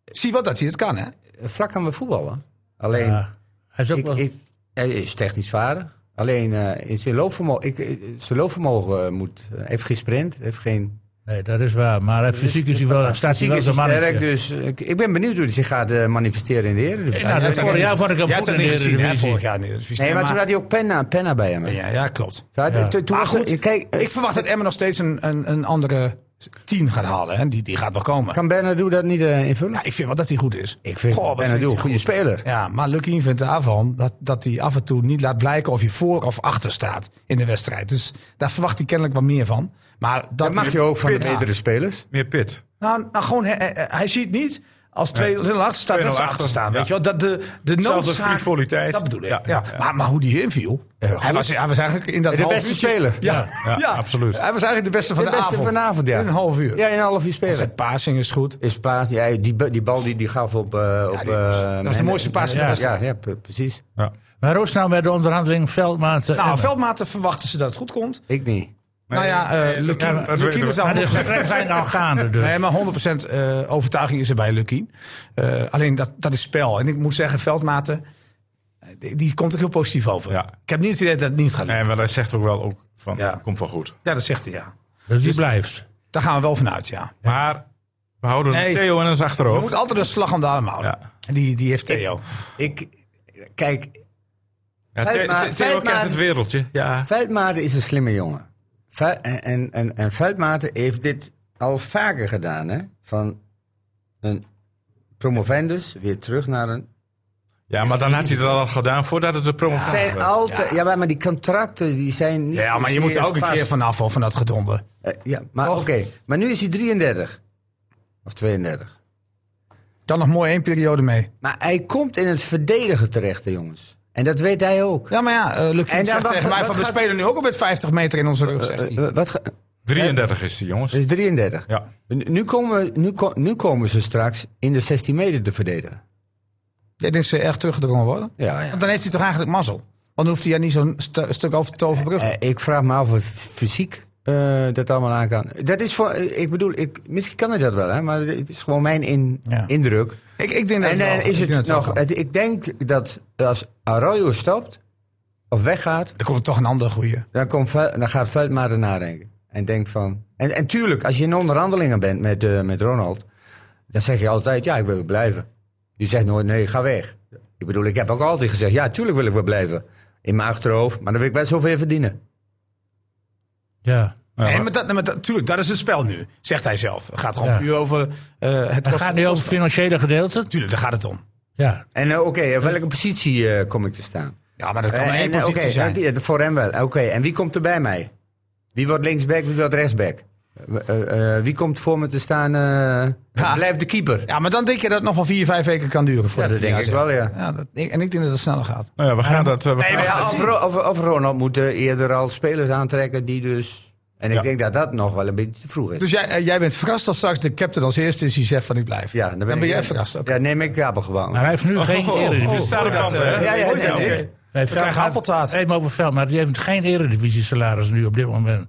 Zie wat dat hij het kan, hè? vlak aan we voetballen. Alleen, Ja. Hij is ook ik, wel... ik, hij is technisch vaardig. Alleen eh, in zijn loopvermogen, ik, eh, zijn loopvermogen eh, moet, eh, heeft geen sprint, heeft geen... Nee, dat is waar. Maar hij- fysiek is hij wel... Staat hij Fysiek wel is zo'n hij mannetje. sterk, dus eh, ik, ik ben benieuwd hoe hij zich gaat eh, manifesteren in de Eredivisie. Nou, dat Jij vorig hebt jaar het- vond ik hem jij goed in hebt de het niet gezien, hè, vorig Eredivisie. jaar in de Eredivisie. Nee, Ja, maar toen had hij ook penna, penna bij hem. Ja, ja, klopt. Toen had- Ja. toen- toen Maar was het- goed, kijk, eh, Ik verwacht dat Emmen nog steeds een, een, een andere 10 gaat halen. Hè? Die, die gaat wel komen. kan Bernardo dat niet eh, invullen? Ja, ik vind wel dat hij goed is. ik vind Goh, wat vindt Bernardo hij een goede goed. speler. Ja, maar Lucky vindt daarvan dat, dat hij af en toe niet laat blijken of je voor of achter staat in de wedstrijd. Dus daar verwacht hij kennelijk wat meer van. Maar dat, Dat mag je ook van de Ja. betere spelers. Meer pit. Nou, nou gewoon, hij, hij- hij ziet niet als 2-0 achter staat, dat ze 2-0 achter staan. ja. Weet je wel? Dat de, de Zelfde noodzaak- frivoliteit. Dat bedoel ik. Ja, Ja, ja, ja. Maar, maar hoe die inviel. Hij was, hij was eigenlijk in dat De half beste uurtje- speler. Ja, Ja, ja, absoluut. Hij was eigenlijk de beste van De de, beste avond. vanavond, ja. In een half uur. Ja, in een half uur spelen. Zijn passing is goed. Is plaats, ja, die, bu- die bal die, die gaf op... eh, op die was- eh, dat is de mooiste paas in de Ja, ja, wedstrijd. ja, pre- precies. Ja. Maar hoe is het nou met de onderhandeling Veldmaat eh, Nou, Emmen? veldmaten verwachten ze dat het goed komt. Ik niet. nou ja, eh nee, Lucky, ja, dat Lucky weten we. is al... Maar de gesprekken zijn al gaande dus. Nee, maar 100% eh, overtuiging is er bij Lucky. Eh, alleen dat, dat is spel. En ik moet zeggen, veldmaten, eh, die, die komt ook heel positief over. Ja. Ik heb niet het idee dat het niet gaat lukken. Nee, maar hij zegt ook wel ook van, Ja. komt wel goed. Ja, dat zegt hij, ja. Dus die blijft. Daar gaan we wel vanuit, ja. Maar we houden Nee. Theo in ons Je achterhoofd. moet altijd een slag om de arm houden. Ja. En Die, die heeft Theo. Ik, kijk, Ja, Feit Theo- maar- Theo feit kent maar- het wereldje. Ja. Veldmaten is een slimme jongen. Ve- en- en, en, en Veldmaten heeft dit al vaker gedaan. Hè? Van een promovendus weer terug naar een... ja, maar dan had hij dat al gedaan voordat het de promotie zijn was. altijd, ja. maar die contracten die zijn niet... Ja, maar je moet er zozeer ook een vast. keer vanaf, hoor, van dat gedonder. Eh, ja, maar oké. Toch? Maar nu is hij 33. Of 32. Dan nog mooi één periode mee. Maar hij komt in het verdedigen terecht, hè, jongens. En dat weet hij ook. Ja, maar ja, eh Lucky En dan zegt wacht- tegen mij wat van, we gaat- spelen nu ook op met 50 meter in onze rug, zegt hij. Eh, wat ge- 33 is die, jongens. Dat is 33. Ja. Nu nu komen, nu, ko- nu komen ze straks in de 16 meter te verdedigen. Jij denkt ze echt eh, teruggedrongen worden? Ja, ja. Want dan heeft hij toch eigenlijk mazzel? Want dan hoeft hij ja niet zo'n stu- stuk over te overbruggen. Eh, ik vraag me af of fysiek eh, dat allemaal aan kan. Dat is voor, eh, ik bedoel, ik, misschien kan hij dat wel, hè, maar het is gewoon mijn in, Ja. indruk. ik, ik denk dat En wel- eh, ik is denk dat het wel nog, kan. het- ik denk dat als Arroyo stopt of weggaat, Er komt toch een ander goeie. dan, komt, Vel- dan gaat Veldmaat nadenken. En denkt van. En, en tuurlijk, als je in onderhandelingen bent met, eh, met Ronald, dan zeg je altijd: ja, ik wil wel blijven. Je zegt nooit: nee, ga weg. Ik bedoel, ik heb ook altijd gezegd: ja, tuurlijk wil ik wel blijven. In mijn achterhoofd, maar dan wil ik wel zoveel verdienen. Ja. Ja, Nee, maar- maar dat, maar dat, tuurlijk, dat is het spel nu, zegt hij zelf. Het gaat gewoon Ja. puur over eh, het Het kosten- gaat nu over het financiële gedeelte. Tuurlijk, daar gaat het om. Ja. En eh, oké, op welke positie eh, kom ik te staan? Ja, maar dat kan maar Eh, één en, positie oké, zijn. ja, voor hem wel. Oké, en wie komt er bij mij? Wie wordt linksback, wie wordt rechtsback? Eh, eh, wie komt voor me te staan? eh, Ha. Blijft de keeper. Ja, maar dan denk je dat het nog wel vier, vijf weken kan duren. Voor Ja, dat denk ik wel, ja. dat, ik- en ik denk dat het sneller gaat. Nou ja, we gaan dat... eh, we gaan maar dat Ja, ja, of, Ro- of, of Ronald moet eh, eerder al spelers aantrekken die dus... En ik Ja. denk dat dat nog wel een beetje te vroeg is. Dus jij, eh, jij bent verrast als straks de captain als eerste is die zegt van ik blijf. ja, dan ben, ik- jij verrast ook. Ja, neem ik Kabelgebouw. Maar hij heeft nu geen Oh, oh, oh, eredivisie. staat op dat, kanten, eh, hè? ja, ja, Oh, nee, oké. nee. Nee, krijgen Veldmaat- appeltaart. Even over Veldmaat. Die heeft geen eredivisie salaris nu op dit moment.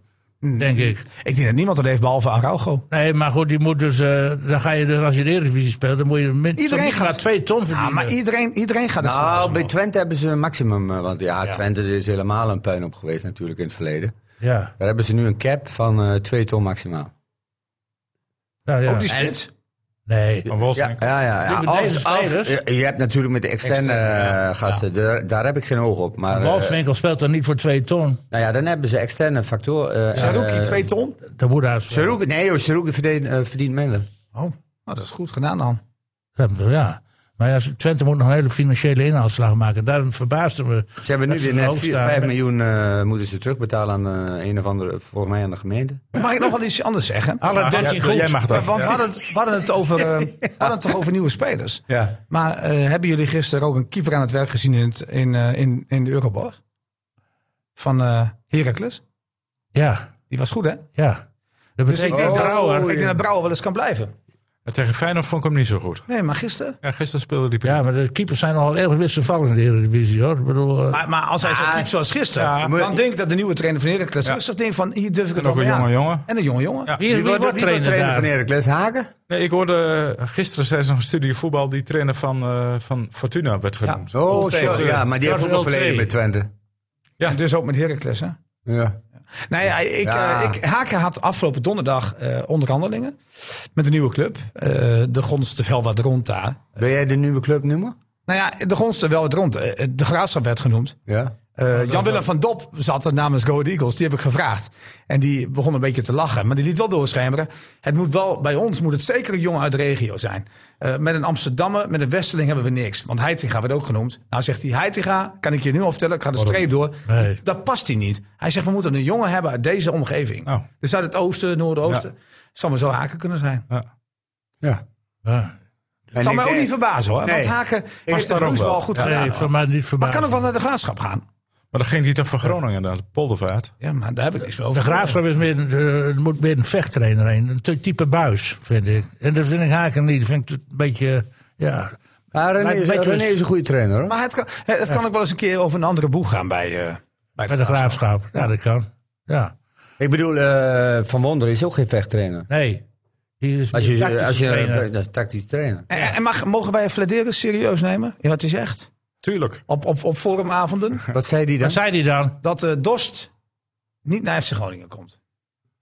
Denk ik. Ik denk dat niemand dat heeft behalve Araujo. Nee, maar goed, die moet dus. eh, dan ga je dus als je de Eredivisie speelt, dan moet je min, Iedereen zo niet gaat- maar twee ton Ja, verdienen. maar iedereen, iedereen gaat er Nou, bij omhoog. Twente hebben ze een maximum. eh, Want ja, Twente is helemaal een puin op geweest natuurlijk in het verleden. ja. Daar hebben ze nu een cap van eh 2 ton maximaal. Nou, ja. Ook die spits. Nee. Van Ja, Wolfswinkel. ja, ja. ja. Die met deze spelers? je, je hebt natuurlijk met de externe eh, gasten, daar, daar heb ik geen oog op. Maar eh, Wolfswinkel speelt dan niet voor twee ton. nou ja, dan hebben ze externe factoren. eh Saruki, eh, twee ton. Dat moet uit. Saruki- nee, joh, Saruki verdient, eh, verdient minder. Oh, nou, dat is goed gedaan dan. Ja. Maar ja, Twente moet nog een hele financiële inhaalslag maken. Daarom verbaasde me. Ze hebben nu dat weer zo net hoog 4, staan. 5 miljoen eh, moeten ze terugbetalen aan eh, een of andere, volgens mij aan de gemeente. Mag ik nog wel iets anders zeggen? Ah, Alle Ja, 13 jij- goals. Jij mag dat. Ja, want we hadden het, we hadden het, over, eh, we hadden het toch over nieuwe spelers. Ja. Maar eh, hebben jullie gisteren ook een keeper aan het werk gezien in, het, in, eh, in, in de Euroborg? Van eh Heracles? Ja, Die was goed, hè? ja. Dat Dus betekent ik Oh, denk, dat dat, Brouwer- ik denk dat Brouwer wel eens kan blijven. Ja, Tegen Feyenoord vond ik hem niet zo goed. Nee, maar gisteren? Ja, gisteren speelde die Ja, maar de keepers zijn nogal erg wisselvallig in de Eredivisie hoor. Ik bedoel, eh, Maar, maar als hij zo Ah, keept zoals gisteren, ja. dan denk ik dat de nieuwe trainer van Heracles... Ja. rustig denkt van, hier durf ik het En ook wel een mee jonge aan. jongen. En een jonge jongen. Ja. wie, wie wordt trainer, daar? van Heracles? Haken? Nee, ik hoorde eh, gisteren tijdens nog een studie voetbal die trainer van, eh, van Fortuna werd genoemd. Ja, Oh, Twente. zo, ja, maar die heeft ook Twente. een verleden met Twente. En dus ook met Heracles, hè? Ja. Nou ja, ik, Ja. eh, ik, Haken had afgelopen donderdag eh, onderhandelingen met een nieuwe club. Eh, de gonste wel wat rond daar. Wil jij de nieuwe club noemen? Nou ja, de gonste wel wat rond. Eh, eh, De graafschap werd genoemd. Ja. Eh, Jan-Willem van Dop zat er namens Go Ahead Eagles. Die heb ik gevraagd. En die begon een beetje te lachen. Maar die liet wel doorschemeren. Het moet wel, bij ons moet het zeker een jongen uit de regio zijn. Eh, met een Amsterdammer, met een Westeling hebben we niks. Want Heitinga werd ook genoemd. Nou zegt hij, Heitinga, kan ik je nu al vertellen. Ik ga de streep door. Nee. Dat past hij niet. Hij zegt, we moeten een jongen hebben uit deze omgeving. Oh. Dus uit het oosten, noordoosten. Zal maar zo haken kunnen zijn. ja. Ja. En zal ik mij ook denk- niet verbazen hoor. Want Nee. haken heeft de daar ook groensbal wel. goed Nee, gedaan. hoor. voor mij niet Maar verbaasd. kan ook wel naar de graafschap gaan. Maar dan ging hij toch van Groningen naar de Poldervaart. Ja, maar daar heb ik niks meer De over. Graafschap is meer, een, eh, er moet meer een vechttrainer heen. Een ty- type buis, vind ik. En dat vind ik Haken niet. Dat vind ik een beetje, eh, ja... Ah, René, Lijkt is, een beetje René een- is een goede trainer hoor. Maar het kan, het het kan ook wel eens een keer over een andere boeg gaan bij, eh, Bij bij de, de graafschap. Graafschap. Ja, dat kan. Ja. Ik bedoel, eh, Van Wonder is ook geen vechttrainer. Nee. Hier is Als je, meer als je, trainer. dat is tactisch trainer. En, en mag, mogen wij Fladeren serieus nemen? Ja, wat is echt? Tuurlijk. Op, op, op forumavonden Wat zei die dan? Wat zei hij dan? dat eh, Dost niet naar FC Groningen komt.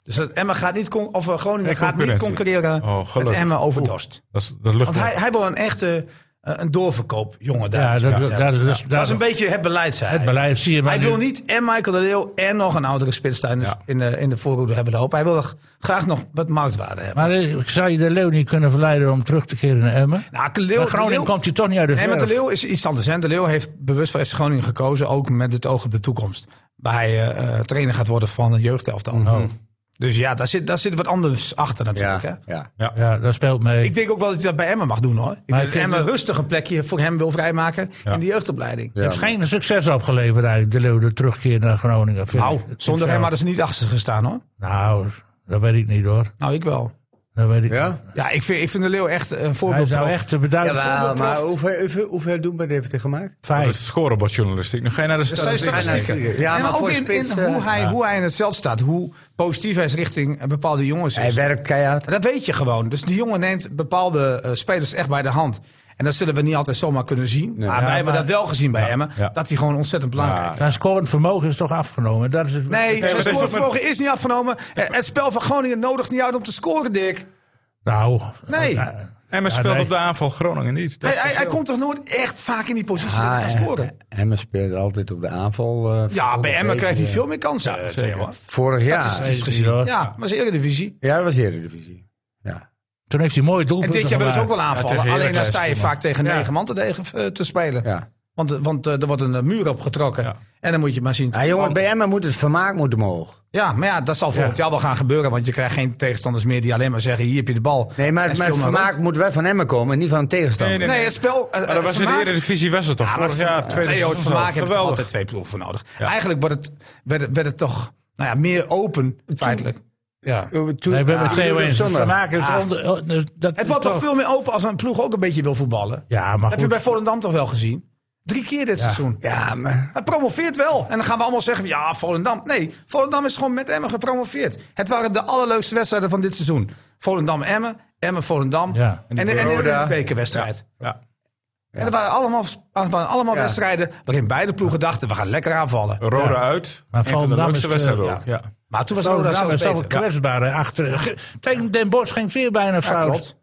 Dus dat Emma gaat niet, con- of eh, Groningen Nee, gaat niet concurrentie. concurreren Oh, met gelukkig. Emma over Dost. Dat, is- dat lucht Want hij, hij wil een echte eh, een doorverkoopjongen daar. Ja, dat, dat, Ja. dat, dat, dat, Dat is een beetje het beleid, zei het hij. beleid. Zie je maar Hij nu- wil niet en Michael de Leeuw en nog een oudere spits daar in de, Ja. in de, in de voorhoede hebben lopen. Hij wil er graag nog wat marktwaarde hebben. Maar eh, zou je de Leeuw niet kunnen verleiden om terug te keren naar Emmen? Nou, de Leeuw, Maar Groningen de Leeuw- komt hij toch niet uit de Nee, maar de verf. Leeuw is iets anders. Hè? De Leeuw heeft bewust voor FC Groningen gekozen, ook met het oog op de toekomst. Waar hij eh, eh, trainer gaat worden van het jeugdelftal. Dus ja, daar zit, daar zit wat anders achter natuurlijk. Hè? Oh. Ja, ja. Ja, dat speelt mee. Ik denk ook wel dat hij dat bij Emma mag doen hoor. Ik Maar denk dat ik- Emma rustig een plekje voor hem wil vrijmaken in de jeugdopleiding. Ja. Het heeft geen succes opgeleverd eigenlijk, de Leeuw, de terugkeer naar Groningen. vind Nou, ik. Het zonder is hem wel- hadden ze niet achter ze gestaan hoor. Nou, dat weet ik niet hoor. Nou, ik wel. Dat weet ik niet. Ja? Ja, ik vind, ik vind de Leeuw echt een Hij voorbeeld. zou echt te beduiden. Jawel, maar hoeveel, hoeveel, hoeveel doelpunten heeft hij gemaakt? Dat is Vijf. scorebordjournalistiek. Nu ga je naar de statistieken. Ja, en maar ook voor in, in spits... eh, hoe, hij, hoe hij in het veld staat. Hoe positief hij is richting eh, bepaalde jongens Hij is. werkt keihard. Dat weet je gewoon. Dus die jongen neemt bepaalde eh, spelers echt bij de hand. En dat zullen we niet altijd zomaar kunnen zien. maar wij Ja, hebben maar- dat wel gezien bij Ja, Emmen. ja. Dat hij gewoon ontzettend belangrijk is. Zijn scorend vermogen is toch afgenomen. Dat is het, Nee, zijn dat heeft ook scorevermogen is niet afgenomen. Eh, Het spel van Groningen nodigt niet uit om te scoren, Dick. Nou. Nee. eh, Emma Ja, speelt nee. op de aanval, Groningen niet. Dat Hij, is hij, hij verschil. komt toch nooit echt vaak in die positie dat hij Ah, kan scoren? eh, Emmen speelt altijd op de aanval. eh, Ja, voor bij de Emmen krijgt hij beker. veel meer kansen. eh, tegenwoordig. Vorig jaar. weet ik niet, hoor. Ja, maar zijn Eredivisie. Ja, dat was Eredivisie. Ja. Ah, Toen heeft hij mooi En doelpunten dit jaar willen ze ook gemaakt. wel aanvallen. tegen Alleen dan Heracles, sta je maar. vaak tegen Ja. negen man te, degen, eh, te spelen. ja. Want, eh, want eh, er wordt een eh, muur opgetrokken. Ja. En dan moet je maar zien. te- Ah, jongen, bij Emmen moet het vermaak moet omhoog. Ja, maar ja, dat zal volgend jaar wel gaan gebeuren. Want je krijgt geen tegenstanders meer die alleen maar zeggen: hier heb je de bal. Nee, maar, En maar het speel maar vermaak rond. moet wel van Emmen komen en niet van een tegenstander. Nee, Nee, het spel. eh, Maar dat eh, was in de vermaak- Eredivisie was het toch? Ja, maar Vorig jaar, tweede twee seizoen het vermaak zelf. hebben er toch Geweldig. altijd twee ploegen voor nodig. Eigenlijk wordt het, werd, het- werd het toch nou ja, meer open, feitelijk. Ja. Ah. Nee, we hebben Theo eens. Het Zondag. vermaak is onder- oh, dus dat Het is wordt toch veel meer open als een ploeg ook een beetje wil voetballen. Ja, maar Heb je goed. bij Volendam toch wel gezien? Drie keer dit seizoen. Ja, maar... Het promoveert wel. En dan gaan we allemaal zeggen, ja, Volendam. Nee, Volendam is gewoon met Emmen gepromoveerd. Het waren de allerleukste wedstrijden van dit seizoen. Volendam-Emmen, Emmen-Volendam. Ja. En, en, en, en Roda. de bekerwedstrijd. Ja. En dat waren allemaal, waren allemaal Ja. wedstrijden waarin beide ploegen dachten, we gaan lekker aanvallen. Rode uit. Maar Een van de Volendam leukste is, wedstrijden eh, ook. Ja. Maar toen was Roda Volendam zelfs Oh, is zoveel beter. Ja, kwetsbare achter. Ge- Tegen Den Bosch ging het weer bijna fout. klopt.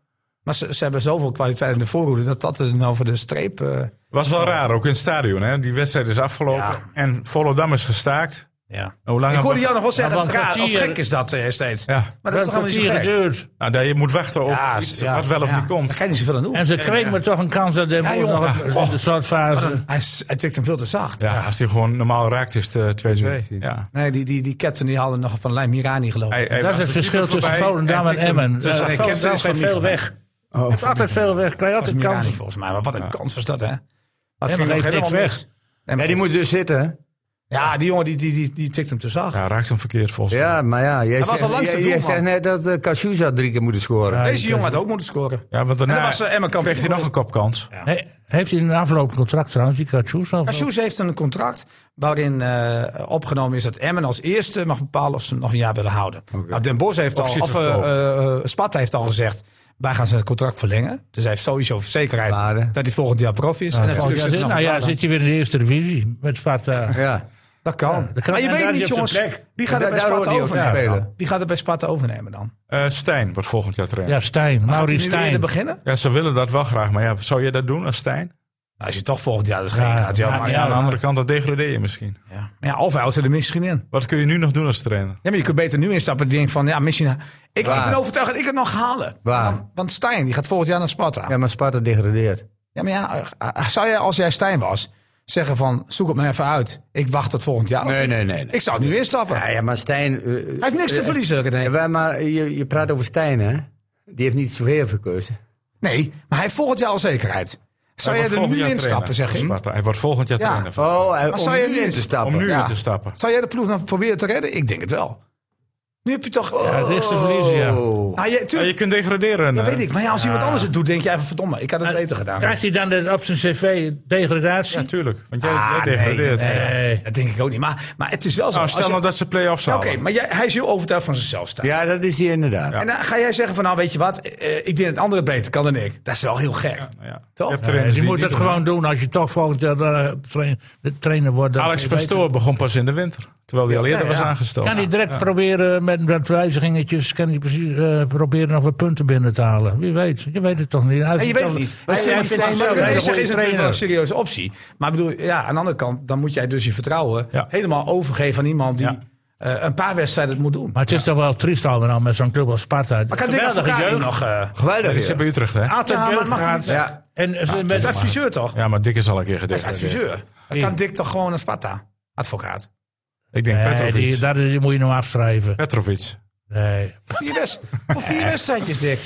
Maar ze, ze hebben zoveel kwaliteit in de voorhoede dat dat er nou voor de streep... eh, Was wel raar, ook in het stadion. Hè? Die wedstrijd is afgelopen. Ja. En Volendam is gestaakt. ja. Hoe lang Ik hebben hoorde jou we- nog wel zeggen, want raar of kwartier- gek is dat eh, steeds. Ja. Maar dat is toch helemaal niet zo gek? geduurd. nou, daar je moet wachten op Ja, iets ja, wat wel of ja. niet Daar komt. kan je niet zoveel aan doen. En ze kregen maar toch een kans dat Den Ja, Oh, Bosch jongen. nog op- Ja. op de slotfase. Hij, is- hij tikt hem veel te zacht. Ja, als hij gewoon normaal raakt, is het eh, 2-2. Ja. Nee, die, die, die captain die hadden nog van Lijn Mirani geloof ik. Hij- hij Dat was is het de verschil keeper tussen voorbij Volendam en tikte hem. Emmen. Dus Eh, hij kent Volendam het geeft veel weg. Heeft altijd veel weg. Krijgt Dat altijd was Mirani kansen. volgens mij. Maar wat een kans was dat, hè? Dat Emmen nog heeft niks helemaal weg. mis. Nee, maar Ja, die goed. moet dus zitten. hè? ja, die jongen die, die, die, die tikt hem te zacht. Ja, raakt hem verkeerd volgens mij. Ja, maar ja. Jij was zegt- al langs de jij- jij doelman. zegt net dat eh Cassius had drie keer moeten scoren. Ja. Deze jongen had ook moeten scoren. Ja, want En daarna dan was, eh, Emmen kampioen kreeg hij nog een kopkans. He- heeft hij een aflopend contract trouwens, die Katsjoes? of- Cassius heeft een contract waarin eh, opgenomen is dat Emmen als eerste mag bepalen of ze hem nog een jaar willen houden. Nou, Den Bosch heeft al, Optie of tot eh, koop. eh, eh, Spat heeft al gezegd, wij gaan zijn contract verlengen. Dus hij heeft sowieso zekerheid Waarde. dat hij volgend jaar prof is. en Ja, natuurlijk ja, zit zit, er nog nou een ja, jaar aan. zit je weer in de eerste divisie met Sparta. Ja. Dat kan. dat kan. Maar je En weet daar niet, is hij op jongens. zijn plek. Wie gaat En er bij daar- daar Sparta hoort hij ook overnemen? te dan? spelen. Wie gaat er bij Sparta overnemen dan? Eh, Stijn wordt volgend jaar trainer. Ja, Stijn. Gaat hij Maurice nu weer Stijn. beginnen? Ja, ze willen dat wel graag. Maar ja, zou je dat doen als Stijn? Nou, als je toch volgend jaar dus geen Ja, gaat, ja, ja, maar Aan de ja, andere kant, dat degradeer je misschien. ja. Maar ja, of hij houdt er misschien in. Wat kun je nu nog doen als trainer? Ja, maar je kunt beter nu instappen. Die denkt van, ja, misschien... Ik, ik Waar? ben overtuigd dat ik het nog halen. Waar? Want, want Stijn, die gaat volgend jaar naar Sparta. ja, Ja, maar Sparta degradeert. maar ja, eh, zou jij als jij Stijn was, zeggen van, zoek het maar even uit. Ik wacht tot volgend jaar. Nee, nee, nee, nee. Ik zou nu instappen. Ja, ja maar Stijn... eh, Hij heeft niks te verliezen, ja, René. wij- maar je, je praat over Stijn, hè? Die heeft niet zoveel verkozen. Nee, maar hij heeft volgend jaar al zekerheid. Zou Hij jij wordt er volgend nu jaar instappen, trainer zeg van Hm? ik? Sparta. Hij wordt volgend jaar Ja. trainer. van- Oh, eh, om zou je nu nu- in te stappen. Om nu Ja. in te stappen. Zou jij de ploeg nog proberen te redden? Ik denk het wel. Nu heb je toch... Ja, niks te verliezen, ja. Oh. Ah, je, Ja, tuurlijk, je kunt degraderen. dat eh. weet ik. Maar ja, als iemand anders het doet, denk je even, verdomme, ik had het beter gedaan. Krijgt hij dan de- op zijn cv degradatie? Ja, tuurlijk. Want jij, Ah, jij degradeert. nee, nee, Nee. Dat denk ik ook niet. Maar, maar het is wel zo. Nou, Als stel je- nou dat ze play-offs Ja, halen. Oké, maar jij, hij is heel overtuigd van zichzelf staan. Ja, dat is hij inderdaad. En dan ga jij zeggen van, nou weet je wat, eh, ik denk het andere beter kan dan ik. Dat is wel heel gek. Nou ja, Toch? je hebt Nee, trainers Dus je die moet niet het doen. gewoon doen als je toch volgend jaar eh, tra- de trainer wordt. dan Alex kun je beter- Pastoor begon pas in de winter. Terwijl hij al eerder ja, was ja. aangesteld. Kan hij direct proberen met, met wijzigingetjes, kan hij precies, eh, proberen nog wat punten binnen te halen. Wie weet, je weet het toch niet. Hij En Ah, je vindt weet het toch- niet. Hij- Als je hij wat vindt Stijn zichzelf Leuker een hele is, goede is natuurlijk wel een trainer. serieuze optie. Maar ik bedoel, ja, aan de andere kant, dan moet jij dus je vertrouwen Ja. helemaal overgeven aan iemand die Ja. eh, een paar wedstrijden het moet doen. Maar het is toch wel triest allemaal nou met zo'n club als Sparta. Maar kan Dick Advocaat niet nog... eh, Dat Geweldig. is bij Utrecht, hè? Altijd Ja, maar jeugd mag niet. gehad. Ja. Ah, En ze met is adviseur toch? Ja, maar Dick is al een keer Hij is gedegradeerd. adviseur. Dan kan Dick toch gewoon naar Sparta? Advocaat. Ik denk Nee, Petrovic. die, daar die moet je nou afschrijven. Petrovic. Nee, Vier west, voor vier wedstrijdjes, Dick.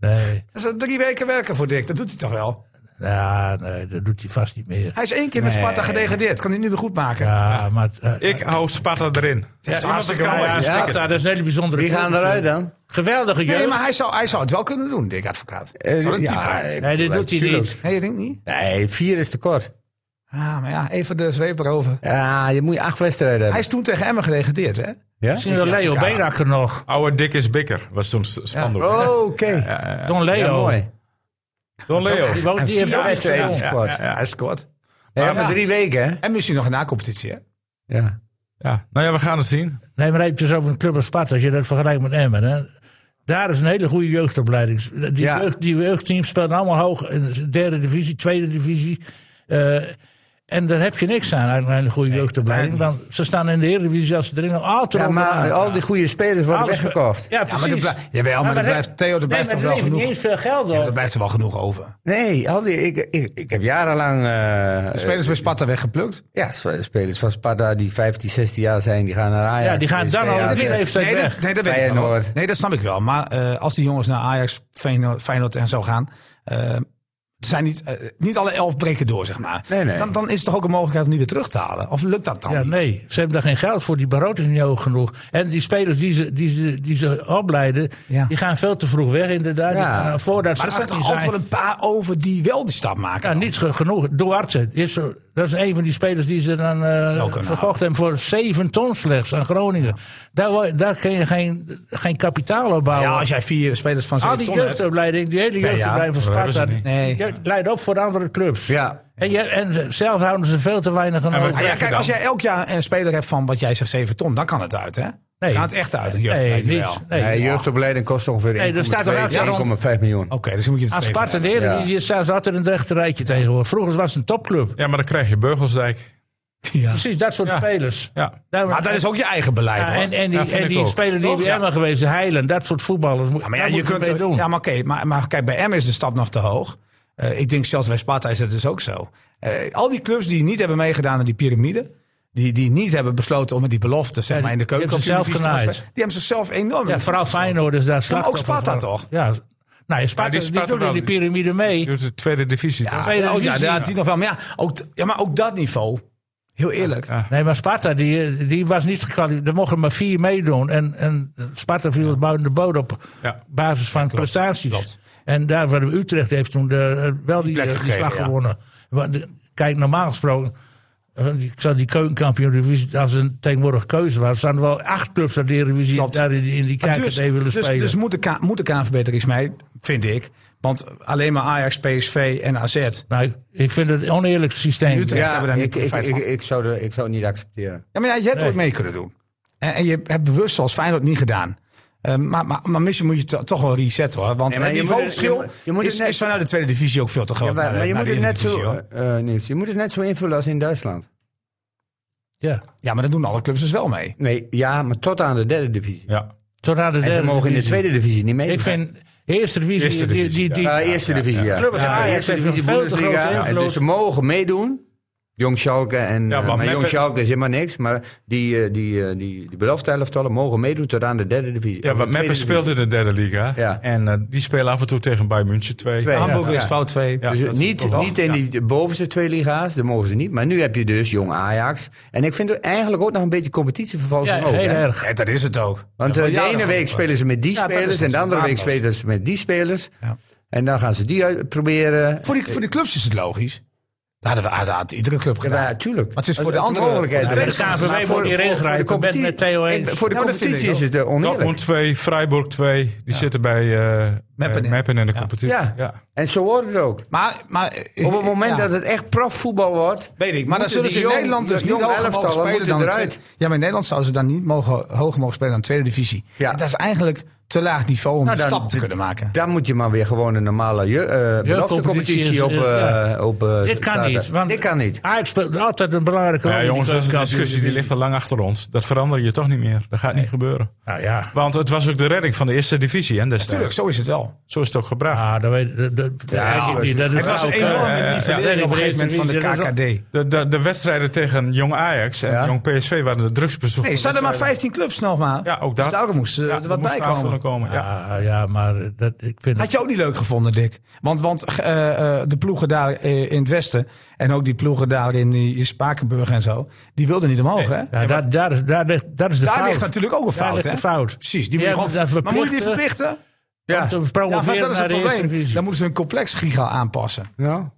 nee, Dat is drie weken werken voor Dick. Dat doet hij toch wel? ja, nee, dat doet hij vast niet meer. Hij is één keer met Sparta gedegradeerd. Kan hij nu weer goed maken? Ja, maar eh, Ik hou Sparta erin. Dat is toch iemand hartstikke kan mooi. mij aanstikken. Sparta, dat is een hele bijzondere Die club gaan eruit natuurlijk. dan? Geweldige Nee, jeugd. maar hij zou, hij zou het wel kunnen doen, Dick Advocaat. Eh, Zou dat ja, type- ik- Nee, dit doet hij tuurlijk. niet. Nee, je denkt niet? Nee, vier is te kort. Ah, maar ja, even de zweep erover. Ja, je moet acht wedstrijden Hij hebben. is toen tegen Emmen gedegradeerd, hè? Misschien wel Leo Afrikaan. Beenakker nog. Oude Dick is Bikker was toen s- spandoek. Oh, oké. Don Leo. Ja, mooi. Don Leo. Die, woont, die heeft Vier ook iets wedstrijden is gedaan. kort. Ja, hij is kort. We hebben drie weken, hè? En misschien nog een na-competitie, hè? Ja. Ja. Nou ja, we gaan het zien. Nee, maar hij heeft dus over een club als Sparta, als je dat vergelijkt met Emmen. Hè. Daar is een hele goede jeugdopleiding. Die, Ja. jeugd, die jeugdteams spelen allemaal hoog. in de Derde divisie, tweede divisie. Eh, en daar heb je niks aan, eigenlijk, een hele goede jeugdopleiding. Want ze staan in de Eredivisie als ze erin gaan, altijd ja, maar onderaan. al die goede spelers worden Alles- weggekocht. Ja, maar er precies. blij- jawel, maar er dat blijft- heb- Theo, er nee, blijft maar nog wel levert genoeg. niet eens veel geld Er op. blijft er wel genoeg over. Eh, Nee, al die, ik, ik, ik heb jarenlang... eh, De spelers bij Sparta weggeplukt. Ja, sp- spelers van Sparta die 15, 16 jaar zijn, die gaan naar Ajax. Ja, die gaan PSV, dan al in AZ. die leeftijd Nee, weg. dat, nee, dat weet ik wel. Feyenoord. Nee, dat snap ik wel. Maar eh, als die jongens naar Ajax, Feyenoord, Feyenoord en zo gaan... eh, er zijn niet, eh, niet alle elf breken door, zeg maar. Nee, nee. Dan, dan is het toch ook een mogelijkheid om die weer terug te halen? Of lukt dat dan Ja, niet? nee, ze hebben daar geen geld voor. Die baroot is niet hoog genoeg. En die spelers die ze, die ze, die ze opleiden, Ja. die gaan veel te vroeg weg inderdaad. Die Ja. gaan, eh, voordat Maar er ze zijn 18 toch altijd zijn. wel een paar over die wel die stap maken. Ja, dan? niet ge- genoeg. Duarte, is, zo- dat is een van die spelers die ze dan eh, Nou, kunnen verkocht hebben voor 7 ton slechts aan Groningen. Daar, wo- daar kun je geen, geen kapitaal op bouwen. Ja, Nou, als jij vier spelers van Al zeven die ton hebt. jeugdopleiding, die hele jeugdopleiding van dat hebben Sparta, ze die niet. Nee. die leidt op voor de andere clubs. Ja. En, je, en ze- zelf houden ze veel te weinig aan En we over. Ah ja, Krijg je kijk, dan? als jij elk jaar een speler hebt van wat jij zegt 7 ton, dan kan het uit, hè? Dan gaat het echt uit, een Nee, jeugdopleiding niets. wel. Nee. Nee, jeugdopleiding kost ongeveer Nee, er Oh, staat er elk 1,2, jaar 1,5 miljoen. Oké, dus dan moet je het Aan streven. Sparta en de Eredivisie staan ze altijd in het rechte rijtje tegenwoordig. Vroeger was het een topclub. Ja, maar dan krijg je Beugelsdijk. Ja. Precies dat soort Ja. spelers. Ja. Daar- Maar dat is ook je eigen beleid, Ja, hoor. en, en die, Ja, vind en ik die ook. speler die Toch? bij Ja. Emma geweest, Heilen, dat soort voetballers. moet- Ja, Ah, maar ja, daar je moet kunt mee doen. Ja, maar oké, maar, maar kijk, bij M is de stap nog te hoog. Eh, ik denk zelfs bij Sparta is dat dus ook zo. Eh, al die clubs die niet hebben meegedaan aan die piramide, die, die niet hebben besloten om met die belofte zeg Ja, maar, in de die keuken hebben zichzelf die genaaid. hebben zichzelf enorm. Ja, vooral Feyenoord is daar slachtoffer ook Sparta van. toch? Ja, nou, ja, Sparta, die die, Sparta doet in wel. die piramide mee. Doet de tweede divisie. toch? Ja, Tweede ja, oh, ja, divisie. ja, die nog wel. Maar ja, ook, t- ja, maar ook dat niveau, heel eerlijk. Nee, maar Sparta, die, die was niet gekwalificeerd. Er mochten maar vier meedoen. En, en Sparta viel buiten de boot op Ja. basis van prestaties. En daar waar Utrecht heeft toen de, eh, wel die, plek eh, die gekregen, slag ja. gewonnen. Want, eh, kijk, normaal gesproken... eh, Ik zou die keukenkampioen-divisie, als een tegenwoordig keuze was... staan er wel acht clubs uit de Eredivisie Klopt. daar in die, in die Maar KKD willen dus, spelen. dus moet, de K, moet de KNVB er iets mee, vind ik. Want alleen maar Ajax, PSV en AZ. Nou, ik, ik vind het een oneerlijk systeem. Utrecht. Ze hebben Ja, daar niet ik, ik, profijt ik, van. ik zou er- ik zou het niet accepteren. Oh, Ja, maar ja, je hebt Nee. ook mee kunnen doen. En, en je hebt bewust zoals Feyenoord niet gedaan. Eh, maar, maar, maar misschien moet je to- toch wel resetten hoor. Want Nee, maar het je moet niveaverschil het- je moet- je moet het is, net- is vanuit de tweede divisie ook veel te groot. Ja, maar, naar de- maar je naar moet de het net Eredivisie, zo, hoor. eh, eh, Niels, je moet het net zo invullen als in Duitsland. Ja, Ja, maar dat doen alle clubs dus wel mee. Nee, ja, maar tot aan de derde divisie. Ja. tot aan de En ze derde mogen in de divisie. tweede divisie niet mee. Ik vind eerste divisie, Eerste die, divisie, die, die, Ja, eerste divisie, ja. Club als Ja, Ajax eerste heeft divisie, een veel te Bundesliga. grote En invloed. Dus ze mogen meedoen. Jong Schalke en... Ja, Ja, want maar met- Jong Schalke is helemaal niks. Maar die, eh, die, eh, die, die belofte elftallen mogen meedoen tot aan de derde divisie. Ja, Of de want Meppen tweede speelt in de derde liga. Ja. En eh, die spelen af en toe tegen Bayern München 2. Twee. Ja, Hamburg ja. is fout 2. Ja. Dus dat is niet, toch wel- niet in die de bovenste twee liga's, dat mogen ze niet. Maar nu heb je dus jong Ajax. En ik vind er eigenlijk ook nog een beetje competitievervalsing Ja, ook. heel hè. erg. dat is het ook. Want Ja, eh, de ja, ene dat- week spelen ze met die Ja, dat is spelers en de wat andere week waardeloos. spelen ze met die spelers. Ja. En dan gaan ze die uit- proberen. Voor die, voor die clubs is het logisch. Dat hadden we dat had iedere club Ja, gedaan. maar natuurlijk. het is voor de Als- als andere- mogelijkheid voor de er is. tegenstander Maar moet voor- je voor- erin voor de grijpen. Ik ben competitie- met Theo eens. Ik- Voor de Nou, dat vind competitie ik is het eh, oneerlijk. Dortmund 2, Freiburg 2. Die zitten bij eh Meppen Meppen, in. Meppen in de competitie. Ja. en zo wordt het ook. Maar, maar, Op het moment ja. dat het echt profvoetbal wordt. Weet ik, maar dan moeten zullen die ze in jong- Nederland dus jong niet hoger elftallen mogen spelen moeten dan de eruit. tweede- Ja, maar in Nederland zouden ze dan niet mogen, hoger mogen spelen dan de tweede divisie. Ja. En Dat is eigenlijk te laag niveau om Nou, een dan- stap te kunnen maken. Daar moet je maar weer gewoon een normale je- eh Jeugdcompetitie is, beloftecompetitie op, eh ja. op eh, Dit kan starten. niet. Want Dit kan niet. Ajax speelt altijd een belangrijke rol. Ja, in die jongens, dat is een keukenkampioen discussie die ligt divisie. al lang achter ons. Dat verander je toch niet meer. Dat gaat niet gebeuren. Nou ja, Want het was ook de redding van de eerste divisie, hè, destijds. Tuurlijk, Eh, zo is het wel. Zo is het ook gebracht. ah, dat weet dat- dat- dat is dat is- niet- dat is Het was een ook, eh, enorme ja, nivellering ja. op een gegeven moment van de KKD. De, de, de wedstrijden tegen Jong Ajax en Ja. Jong PSV waren de drugsbezoeken. Nee, er zaten maar 15 clubs nog maar. Ja, ook Dus dat. daarom moest eh, Ja, er er wat moest bij aanvulling komen. komen. Ja. Ah, ja, maar dat, ik vind het- Had je ook niet leuk gevonden, Dick? Want, want eh, eh, de ploegen daar eh, in het westen en ook die ploegen daar in die Spakenburg en zo, die wilden niet omhoog, hè? Ja, daar, daar, is, daar, ligt, daar is de Daar fout. ligt natuurlijk ook een Daar fout, ligt hè? de fout. Precies, die moet Ja, je gewoon- dat maar moet je die verplichten verplichten? om te Ja, want promoveren dat is naar het de eerste probleem. divisie. Dan moeten ze een complex giga aanpassen. Ja,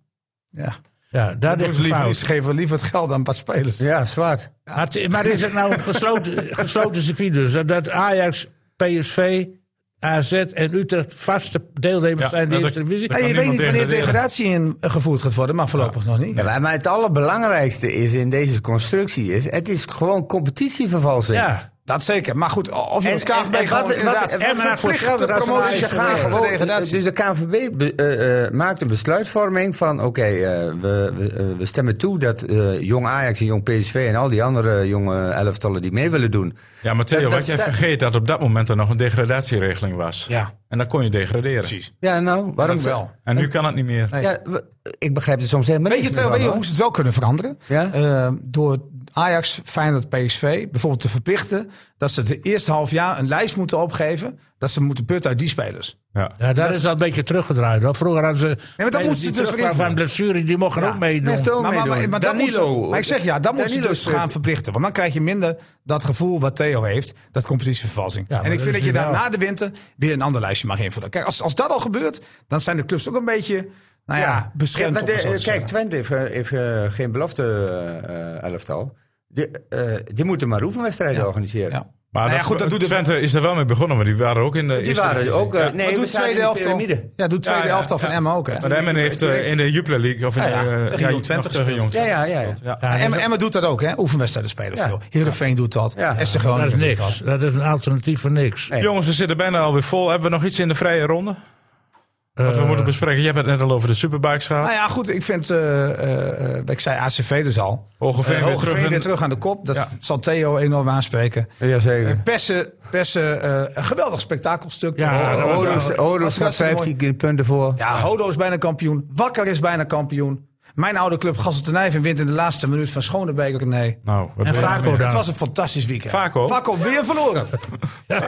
Ja. Ja, daar Dat ligt de is liever, fout. niet. ze geven liever het geld aan een paar spelers. ja zwart. Maar, het- maar is het nou een gesloten, gesloten circuit dus? Dat, dat Ajax, PSV, AZ en Utrecht vaste deelnemers Ja, zijn in de dat- eerste divisie? dat- Nee, je kan weet niet niemand wanneer degraderen. degradatie in eh, gevoerd gaat worden, maar voorlopig nog niet. Ja, maar- maar het allerbelangrijkste is in deze constructie is, het is gewoon competitievervalsing. Ja, Dat zeker. Maar goed, of je En- als en- KVB en gewoon wat- inderdaad wat- en maar voor verplicht geld de dat ze maar promotie eens Ze Ja, gaan ja, gewoon, dus degradatie. de KNVB be- eh, eh, maakt een besluitvorming van: oké, eh, we, we, eh, we stemmen toe dat eh, jong Ajax en jong PSV en al die andere jonge elftallen die mee willen doen. Ja, maar Theo, Dat- dat wat jij sta- vergeet dat op dat moment er nog een degradatieregeling was. Ja. En dan kon je degraderen. Ja, nou, waarom Dat wel. En nu kan het niet meer. Ja, we- ik begrijp het soms helemaal Weet je, niet. terwijl- meer weet je van, hoe ze het wel kunnen veranderen? Ja? Eh, door Ajax, Feyenoord, PSV bijvoorbeeld te verplichten dat ze de eerste half jaar een lijst moeten opgeven. Dat ze moeten putten uit die spelers. Ja. ja, daar is al een beetje teruggedraaid. Want vroeger hadden ze... maar dat die moeten ze dus terugkwamen weer van blessure, die mochten Ja. ook meedoen. Echt ook. Maar, maar, maar, meedoen. maar dat moet Danilo. ze- maar ik zeg ja, dat moet je Danilo dus zit- gaan verplichten. Want dan krijg je minder dat gevoel wat Theo heeft, dat competitievervalsing. Ja, maar en ik dat vind is dat je nu daar wel. na de winter weer een ander lijstje mag invullen. Kijk, als, als dat al gebeurt, dan zijn de clubs ook een beetje nou ja, beschermd. Ja, om maar de- het zo te eh, kijk, zeggen. Twente heeft, eh, heeft eh, geen belofte eh, elftal. Die, eh, die moeten maar oefenwedstrijden organiseren. Ja. Maar Nou ja, goed, dat doet de- Twente is er wel mee begonnen, maar die waren ook in de Die eerste waren divisie. ook. eh, nee, Maar we doet zaten tweede in de elftal, piramide. ja, doet tweede Ja, ja, elftal ja. van Emmen ook. Hè? Maar de Emmen heeft eh, in de Jupiler League of in Ja, de ja, eh, tegen Jong Twente nog tegen Jong Ja, Twente. ja, ja. ja. Ja. Ja, dat is Emmen, Emmen doet dat ook, hè? Oefenwedstrijden spelen Ja. veel. Heerenveen doet dat. Ja. FC Dat is Groningen doet niks. dat. Dat is een alternatief voor niks. Nee. Jongens, we zitten bijna alweer vol. Hebben we nog iets in de vrije ronde? Wat we Eh, moeten bespreken. Jij hebt het net al over de Superbikes gehad. Nou ja, goed, ik vind, eh, eh, eh, ik zei ACV dus al. Hogeveen Eh, weer Hogeveen terug in- weer terug aan de kop. Dat Ja. zal Theo enorm aanspreken. Jazeker. Persen, persen eh, een geweldig spektakelstuk. Ja, Oh, dat was- Hodo is- Odo's, Hodo Odo's is staat hartstikke mooi. 15 punten voor. Ja, Hodo is bijna kampioen. Wakker is bijna kampioen. Mijn oude club Gasseltenijven wint in de laatste minuut van Schonebeek. Nee. Nou, wat En wil je nog Vaco meer? dan? Het was een fantastisch weekend. Vaco? Vaco weer verloren.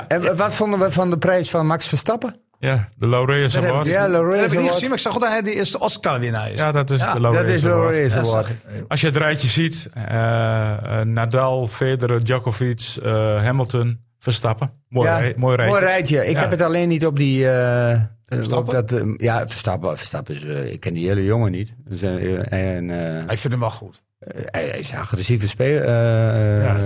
En wat vonden we van de prijs van Max Verstappen? Ja, de Laureus heb ik Award. niet- Ja, dat Laureus heb ik niet Award. gezien, maar ik zag dat hij de eerste Oscar-winnaar is. Ja, dat is de Laureus Dat is Award. Laureus Award. Als je het rijtje ziet, eh, eh, Nadal, Federer, Djokovic, eh, Hamilton, Verstappen. Mooi, Ja, rij- mooi rijtje. Ik Ja. heb het alleen niet op die... eh, eh, op Verstappen? dat, eh, ja, Verstappen, Verstappen is... eh, ik ken die hele jongen niet. Dus, eh, en, eh, Ik vind hem wel goed. hij, hij is een agressieve speler. eh, Ja.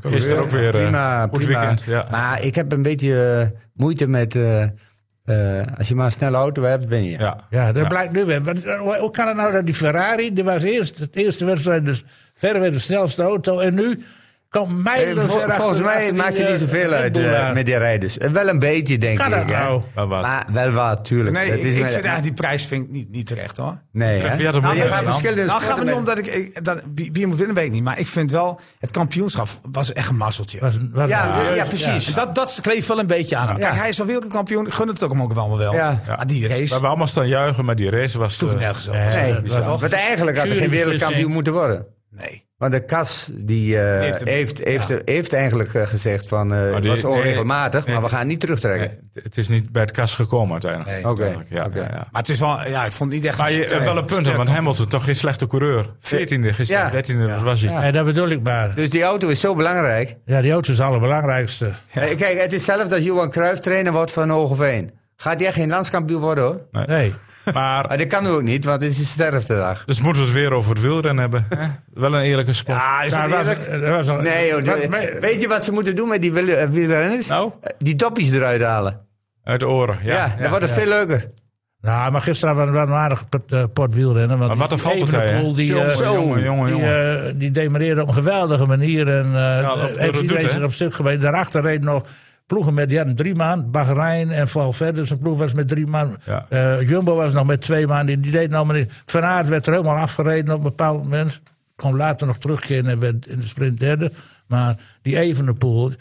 eh, Gisteren ook weer, eh, Prima, goed prima. weekend, ja. Maar ik heb een beetje eh, moeite met... eh, eh, als je maar een snelle auto hebt, win je. Ja. Ja, dat blijkt nu weer. Want, eh, Hoe kan het nou dat die Ferrari, die was eerst de eerste wedstrijd, dus verreweg de snelste auto. En nu komt Eh, mijlen vol- ver achter- volgens mij achter die, maakt het niet eh, zoveel Red uit Bull eh, aan. met die rijders. Eh, Wel een beetje, denk Kan ik. dat hè. nou? Maar wat? Maar wel wat, tuurlijk. Nee, Dat ik, is ik wel- vind eigenlijk die prijs vind ik niet, niet terecht hoor. Nee, Wie hè? had hem Nou, je moeten gaat winnen? verschillende nou gaat sporten het niet met- om dat ik, ik- dat, wie, wie moet winnen weet ik niet. Maar ik vind wel, het kampioenschap was echt een mazzeltje. Was een- was een- Ja, ja. ja, precies. En Dat, dat kleeft wel een beetje aan hem. Kijk, hij is al wereldkampioen. Ik Gun het ook hem ook wel. wel. Ja. Maar We die race hebben allemaal staan juichen, maar die race was... sloeg eh, nergens op. Nee. Nee, Ja, bizar. toch? want eigenlijk had er geen Jurybeslissing. wereldkampioen moeten worden. Nee. Want de kas die, eh, heeft heeft, het- heeft, heeft, eigenlijk eh, gezegd van eh, het die- was onregelmatig, nee, maar we nee, gaan niet terugtrekken. nee, eh, het is niet bij het kas gekomen uiteindelijk. Nee. Oké, Uiteindelijk, ja, oké. ja, ja. Maar het is wel, ja, ik vond het niet echt... Maar je hebt wel een punt, hè, want Hamilton toch geen slechte coureur. 14e Ja. gisteren, 13e dat was hij. Nee, dat bedoel ik maar. Dus die auto is zo belangrijk. Ja, die auto is het allerbelangrijkste. Eh, Kijk, het is zelf dat Johan Cruijff trainer wordt van Hogeveen. Gaat hij geen landskampioen worden hoor? Nee. Maar, Maar dat kan ook niet, want het is een sterftedag. dus moeten we het weer over het wielrennen hebben. hè? Wel een eerlijke sport. Ja, is Daar dat Nou, was- eerlijk? er was al- Nee joh, wat- de- me- weet je wat ze moeten doen met die wiel- eh, wielrenners? Nou? Eh, Die doppies eruit halen. Uit de oren, ja. Ja, ja, dat wordt het veel leuker. Nou, maar gisteren was was een aardig pot- eh, pot wielrennen. Want Maar wat een die valpartij, hè? Evenepoel, Die, eh, jongen, jongen, jongen, die, jongen. eh, die demareerde op een geweldige manier. En eh dat- dat heeft doet, iedereen hè? zich op stuk geweest. Daarachter reed nog ploegen met, die hadden drie maanden. Bahrein en Valverde, zijn ploeg was met drie maanden. Ja. Eh, Jumbo was nog met twee maanden. Die, die deed nou maar niet. Van Aert werd er helemaal afgereden op een bepaald moment. Kon later nog terugkeren en werd in de sprint derde. Maar die Evenepoel...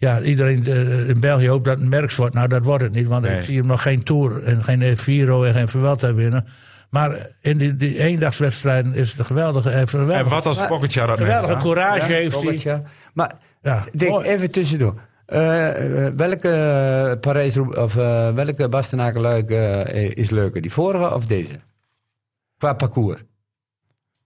Ja, iedereen eh, in België hoopt dat het Merks wordt. Nou, dat wordt het niet, want Nee. ik zie hem nog geen Tour en geen E Viro en geen Vuelta winnen. Maar in die, die eendagswedstrijden is het een geweldige... eh, geweldige- En wat als Pogacar dat geweldige meegaat? courage heeft hij. Pogacar. Maar Ja. Dick, Mooi. even tussendoor. Eh, eh, welke eh, Parijs of eh, welke Bastenaken-Luik eh, is leuker? Die vorige of deze? Qua parcours.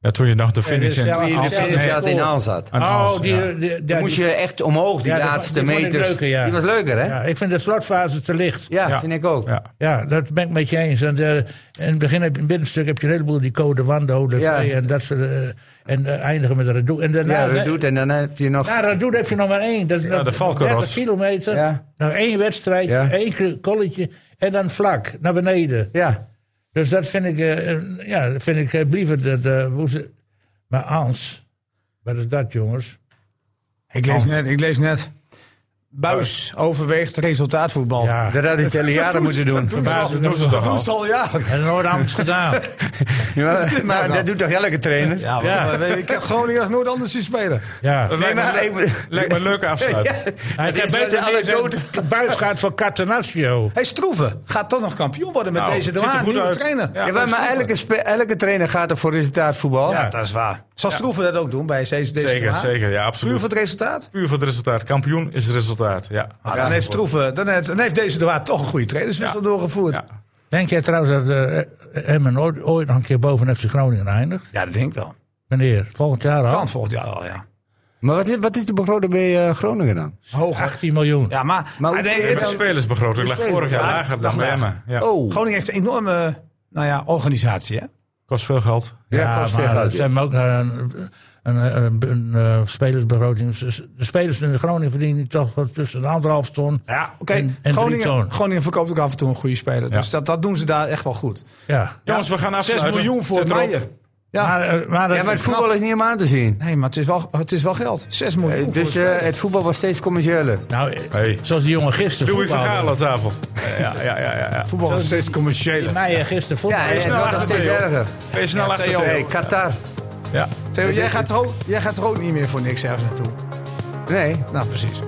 Ja, toen je nog de finish in... Ja, Toen je de Als- finish Nee. had in Aan zat. Aan Als, Oh, die, ja. die- die- Dan die- moest je echt omhoog, die ja, die- laatste die vond ik meters. leuker, ja. Die was leuker, hè? Ja, ja, ik vind de slotfase te licht. Ja, Ja. vind ik ook. Ja. dat ben ik met je eens. En, eh, in het begin, heb, je- in het middenstuk heb je een heleboel die code Wando, de Ja. Vrij en dat soort... eh, en eh, eindigen met Redoux. En daarna, Ja, dat doet. En dan heb je nog... Na Redoux heb je nog maar één. Dat is nog de Valkenrots. 30 kilometer, Ja. nog één wedstrijd, Ja. één kolletje en dan vlak, naar beneden. Ja, Dus dat vind ik, eh, eh, ja, dat vind ik eh, liever dat... eh, hoe ze- maar Ans, wat is dat, jongens? Ik lees net. Ik lees net. Buis overweegt resultaatvoetbal. Ja. dat had de Italianen moeten doen. Dat doen ze toch al? Dat al jaren. En Noord-Amst gedaan. Ja, maar- maar dat doet toch elke trainer? Ja, maar, Ja. maar nee, ik heb Groningen nog nooit anders zien spelen. Ja. Dat lijkt, maar me, even- lijkt me een leuke afsluiting. Hij Dat kan is wel beter de niet anekdote. zijn buis gaat voor Catenaccio. Hey, Stroeven gaat toch nog kampioen worden met Nou, deze het ziet er Doan, goed nieuwe uit. trainer. Ja, Ja, maar elke, spe- elke trainer gaat er voor resultaatvoetbal. Ja. dat is waar. Zal Stroeven dat ook doen bij deze, deze Zeker, Doan? zeker. Ja, Puur voor absoluut. het resultaat? Puur voor het resultaat. Kampioen is het resultaat. Ja. Ah, dan, heeft Stroeven, dan, heeft, dan heeft deze Doan toch een goede trainerswissel Ja. doorgevoerd. Ja. Ja. Denk jij trouwens dat eh, Emmen ooit, ooit nog een keer boven FC Groningen eindigt? dat denk ik wel. Meneer, volgend jaar al? Oh. Kan volgend jaar al, ja. Maar wat is, wat is de begroting bij eh, Groningen dan? Hoger. 18 miljoen. Ja, maar, Maar- maar nee, Nee, het- maar de spelersbegroting lag vorig jaar Ja, lager lag dan bij lager. Emmen. Ja. Oh, Groningen heeft een enorme nou ja, organisatie, hè? Kost veel geld. ja, kost veel maar geld, ze hebben ook eh, een, een, een, een, eh, spelersbegroting. Ze- De spelers in Groningen verdienen toch wel tussen de anderhalf ton. Ja, oké. En- en drie Groningen, toon. Groningen verkoopt ook af en toe een goede speler. Dus dat, dat doen ze daar echt wel goed. Ja. Jongens, we gaan afsluiten. 6 miljoen voor Zet erop. Meijer. Maar, eh, maar dat- Ja, maar het voetbal is niet om aan te zien. Nee, maar het is wel, het is wel geld. 6 miljoen. Eh, voor Dus een eh, speler. het voetbal was steeds commerciëler. nou, eh, Hey. zoals die jongen gisteren Louis van voetbalde. Gaal aan tafel. Ja, ja, ja. ja, ja. voetbal is steeds commerciëler. Mij eh, gisteren Ja, voetbalde. en het wordt nog achter steeds Theo. erger. Ben je snel achter Hey, Theo? Qatar. Ja. Theo, jij gaat, er ook, jij gaat er ook niet meer voor niks ergens naartoe. Nee, Nou, precies.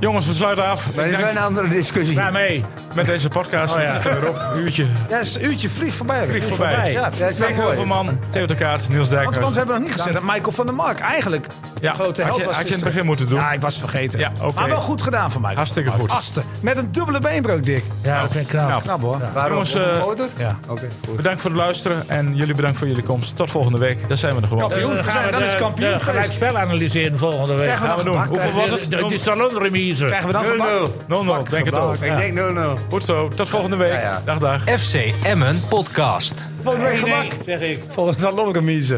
Jongens, we sluiten af. maar dat Ik is wel een dank andere discussie. Daarmee. met deze podcast. Oh, We ja. zitten weer op. Een uurtje. Ja, het is een uurtje vliegt voorbij. Vliegt Ja, voorbij. voorbij. Ja, Dat is wel Henk mooi. Heuvelman, Theo de Kaat, Niels want, want we Dijkhuis. hebben nog niet gezegd dat Michael van der Mark eigenlijk Ja, de grote had held je- was had je in het gisteren. begin moeten doen. Ja, ik was vergeten. Ja, oké. Maar wel goed gedaan van Michael. Hartstikke van der Mark. goed. Asten, met een dubbele beenbreuk, Dick. Ja, dat vind ik knap. knap. Knap hoor. Waarom? Jongens, Op een eh, motor? Ja. Oké, goed. Bedankt voor het luisteren en jullie bedankt voor jullie komst. Tot volgende week. Daar zijn we er gewoon. Kampioen. Dan We gaan zijn we wel eens de- kampioen de geweest. gelijkspel analyseren volgende week. Krijgen we Gaan we dan doen. gebak? Hoeveel was De, het? de, die salonremise. Krijgen we dan gebak? 0-0. 0-0, denk het gebak. ook. Ik denk 0-0. Goed zo, tot volgende week. ja. Dag, dag. FC Emmen Podcast. Volgende week Nee, gebak. nee, zeg ik. Volgens de Loremize.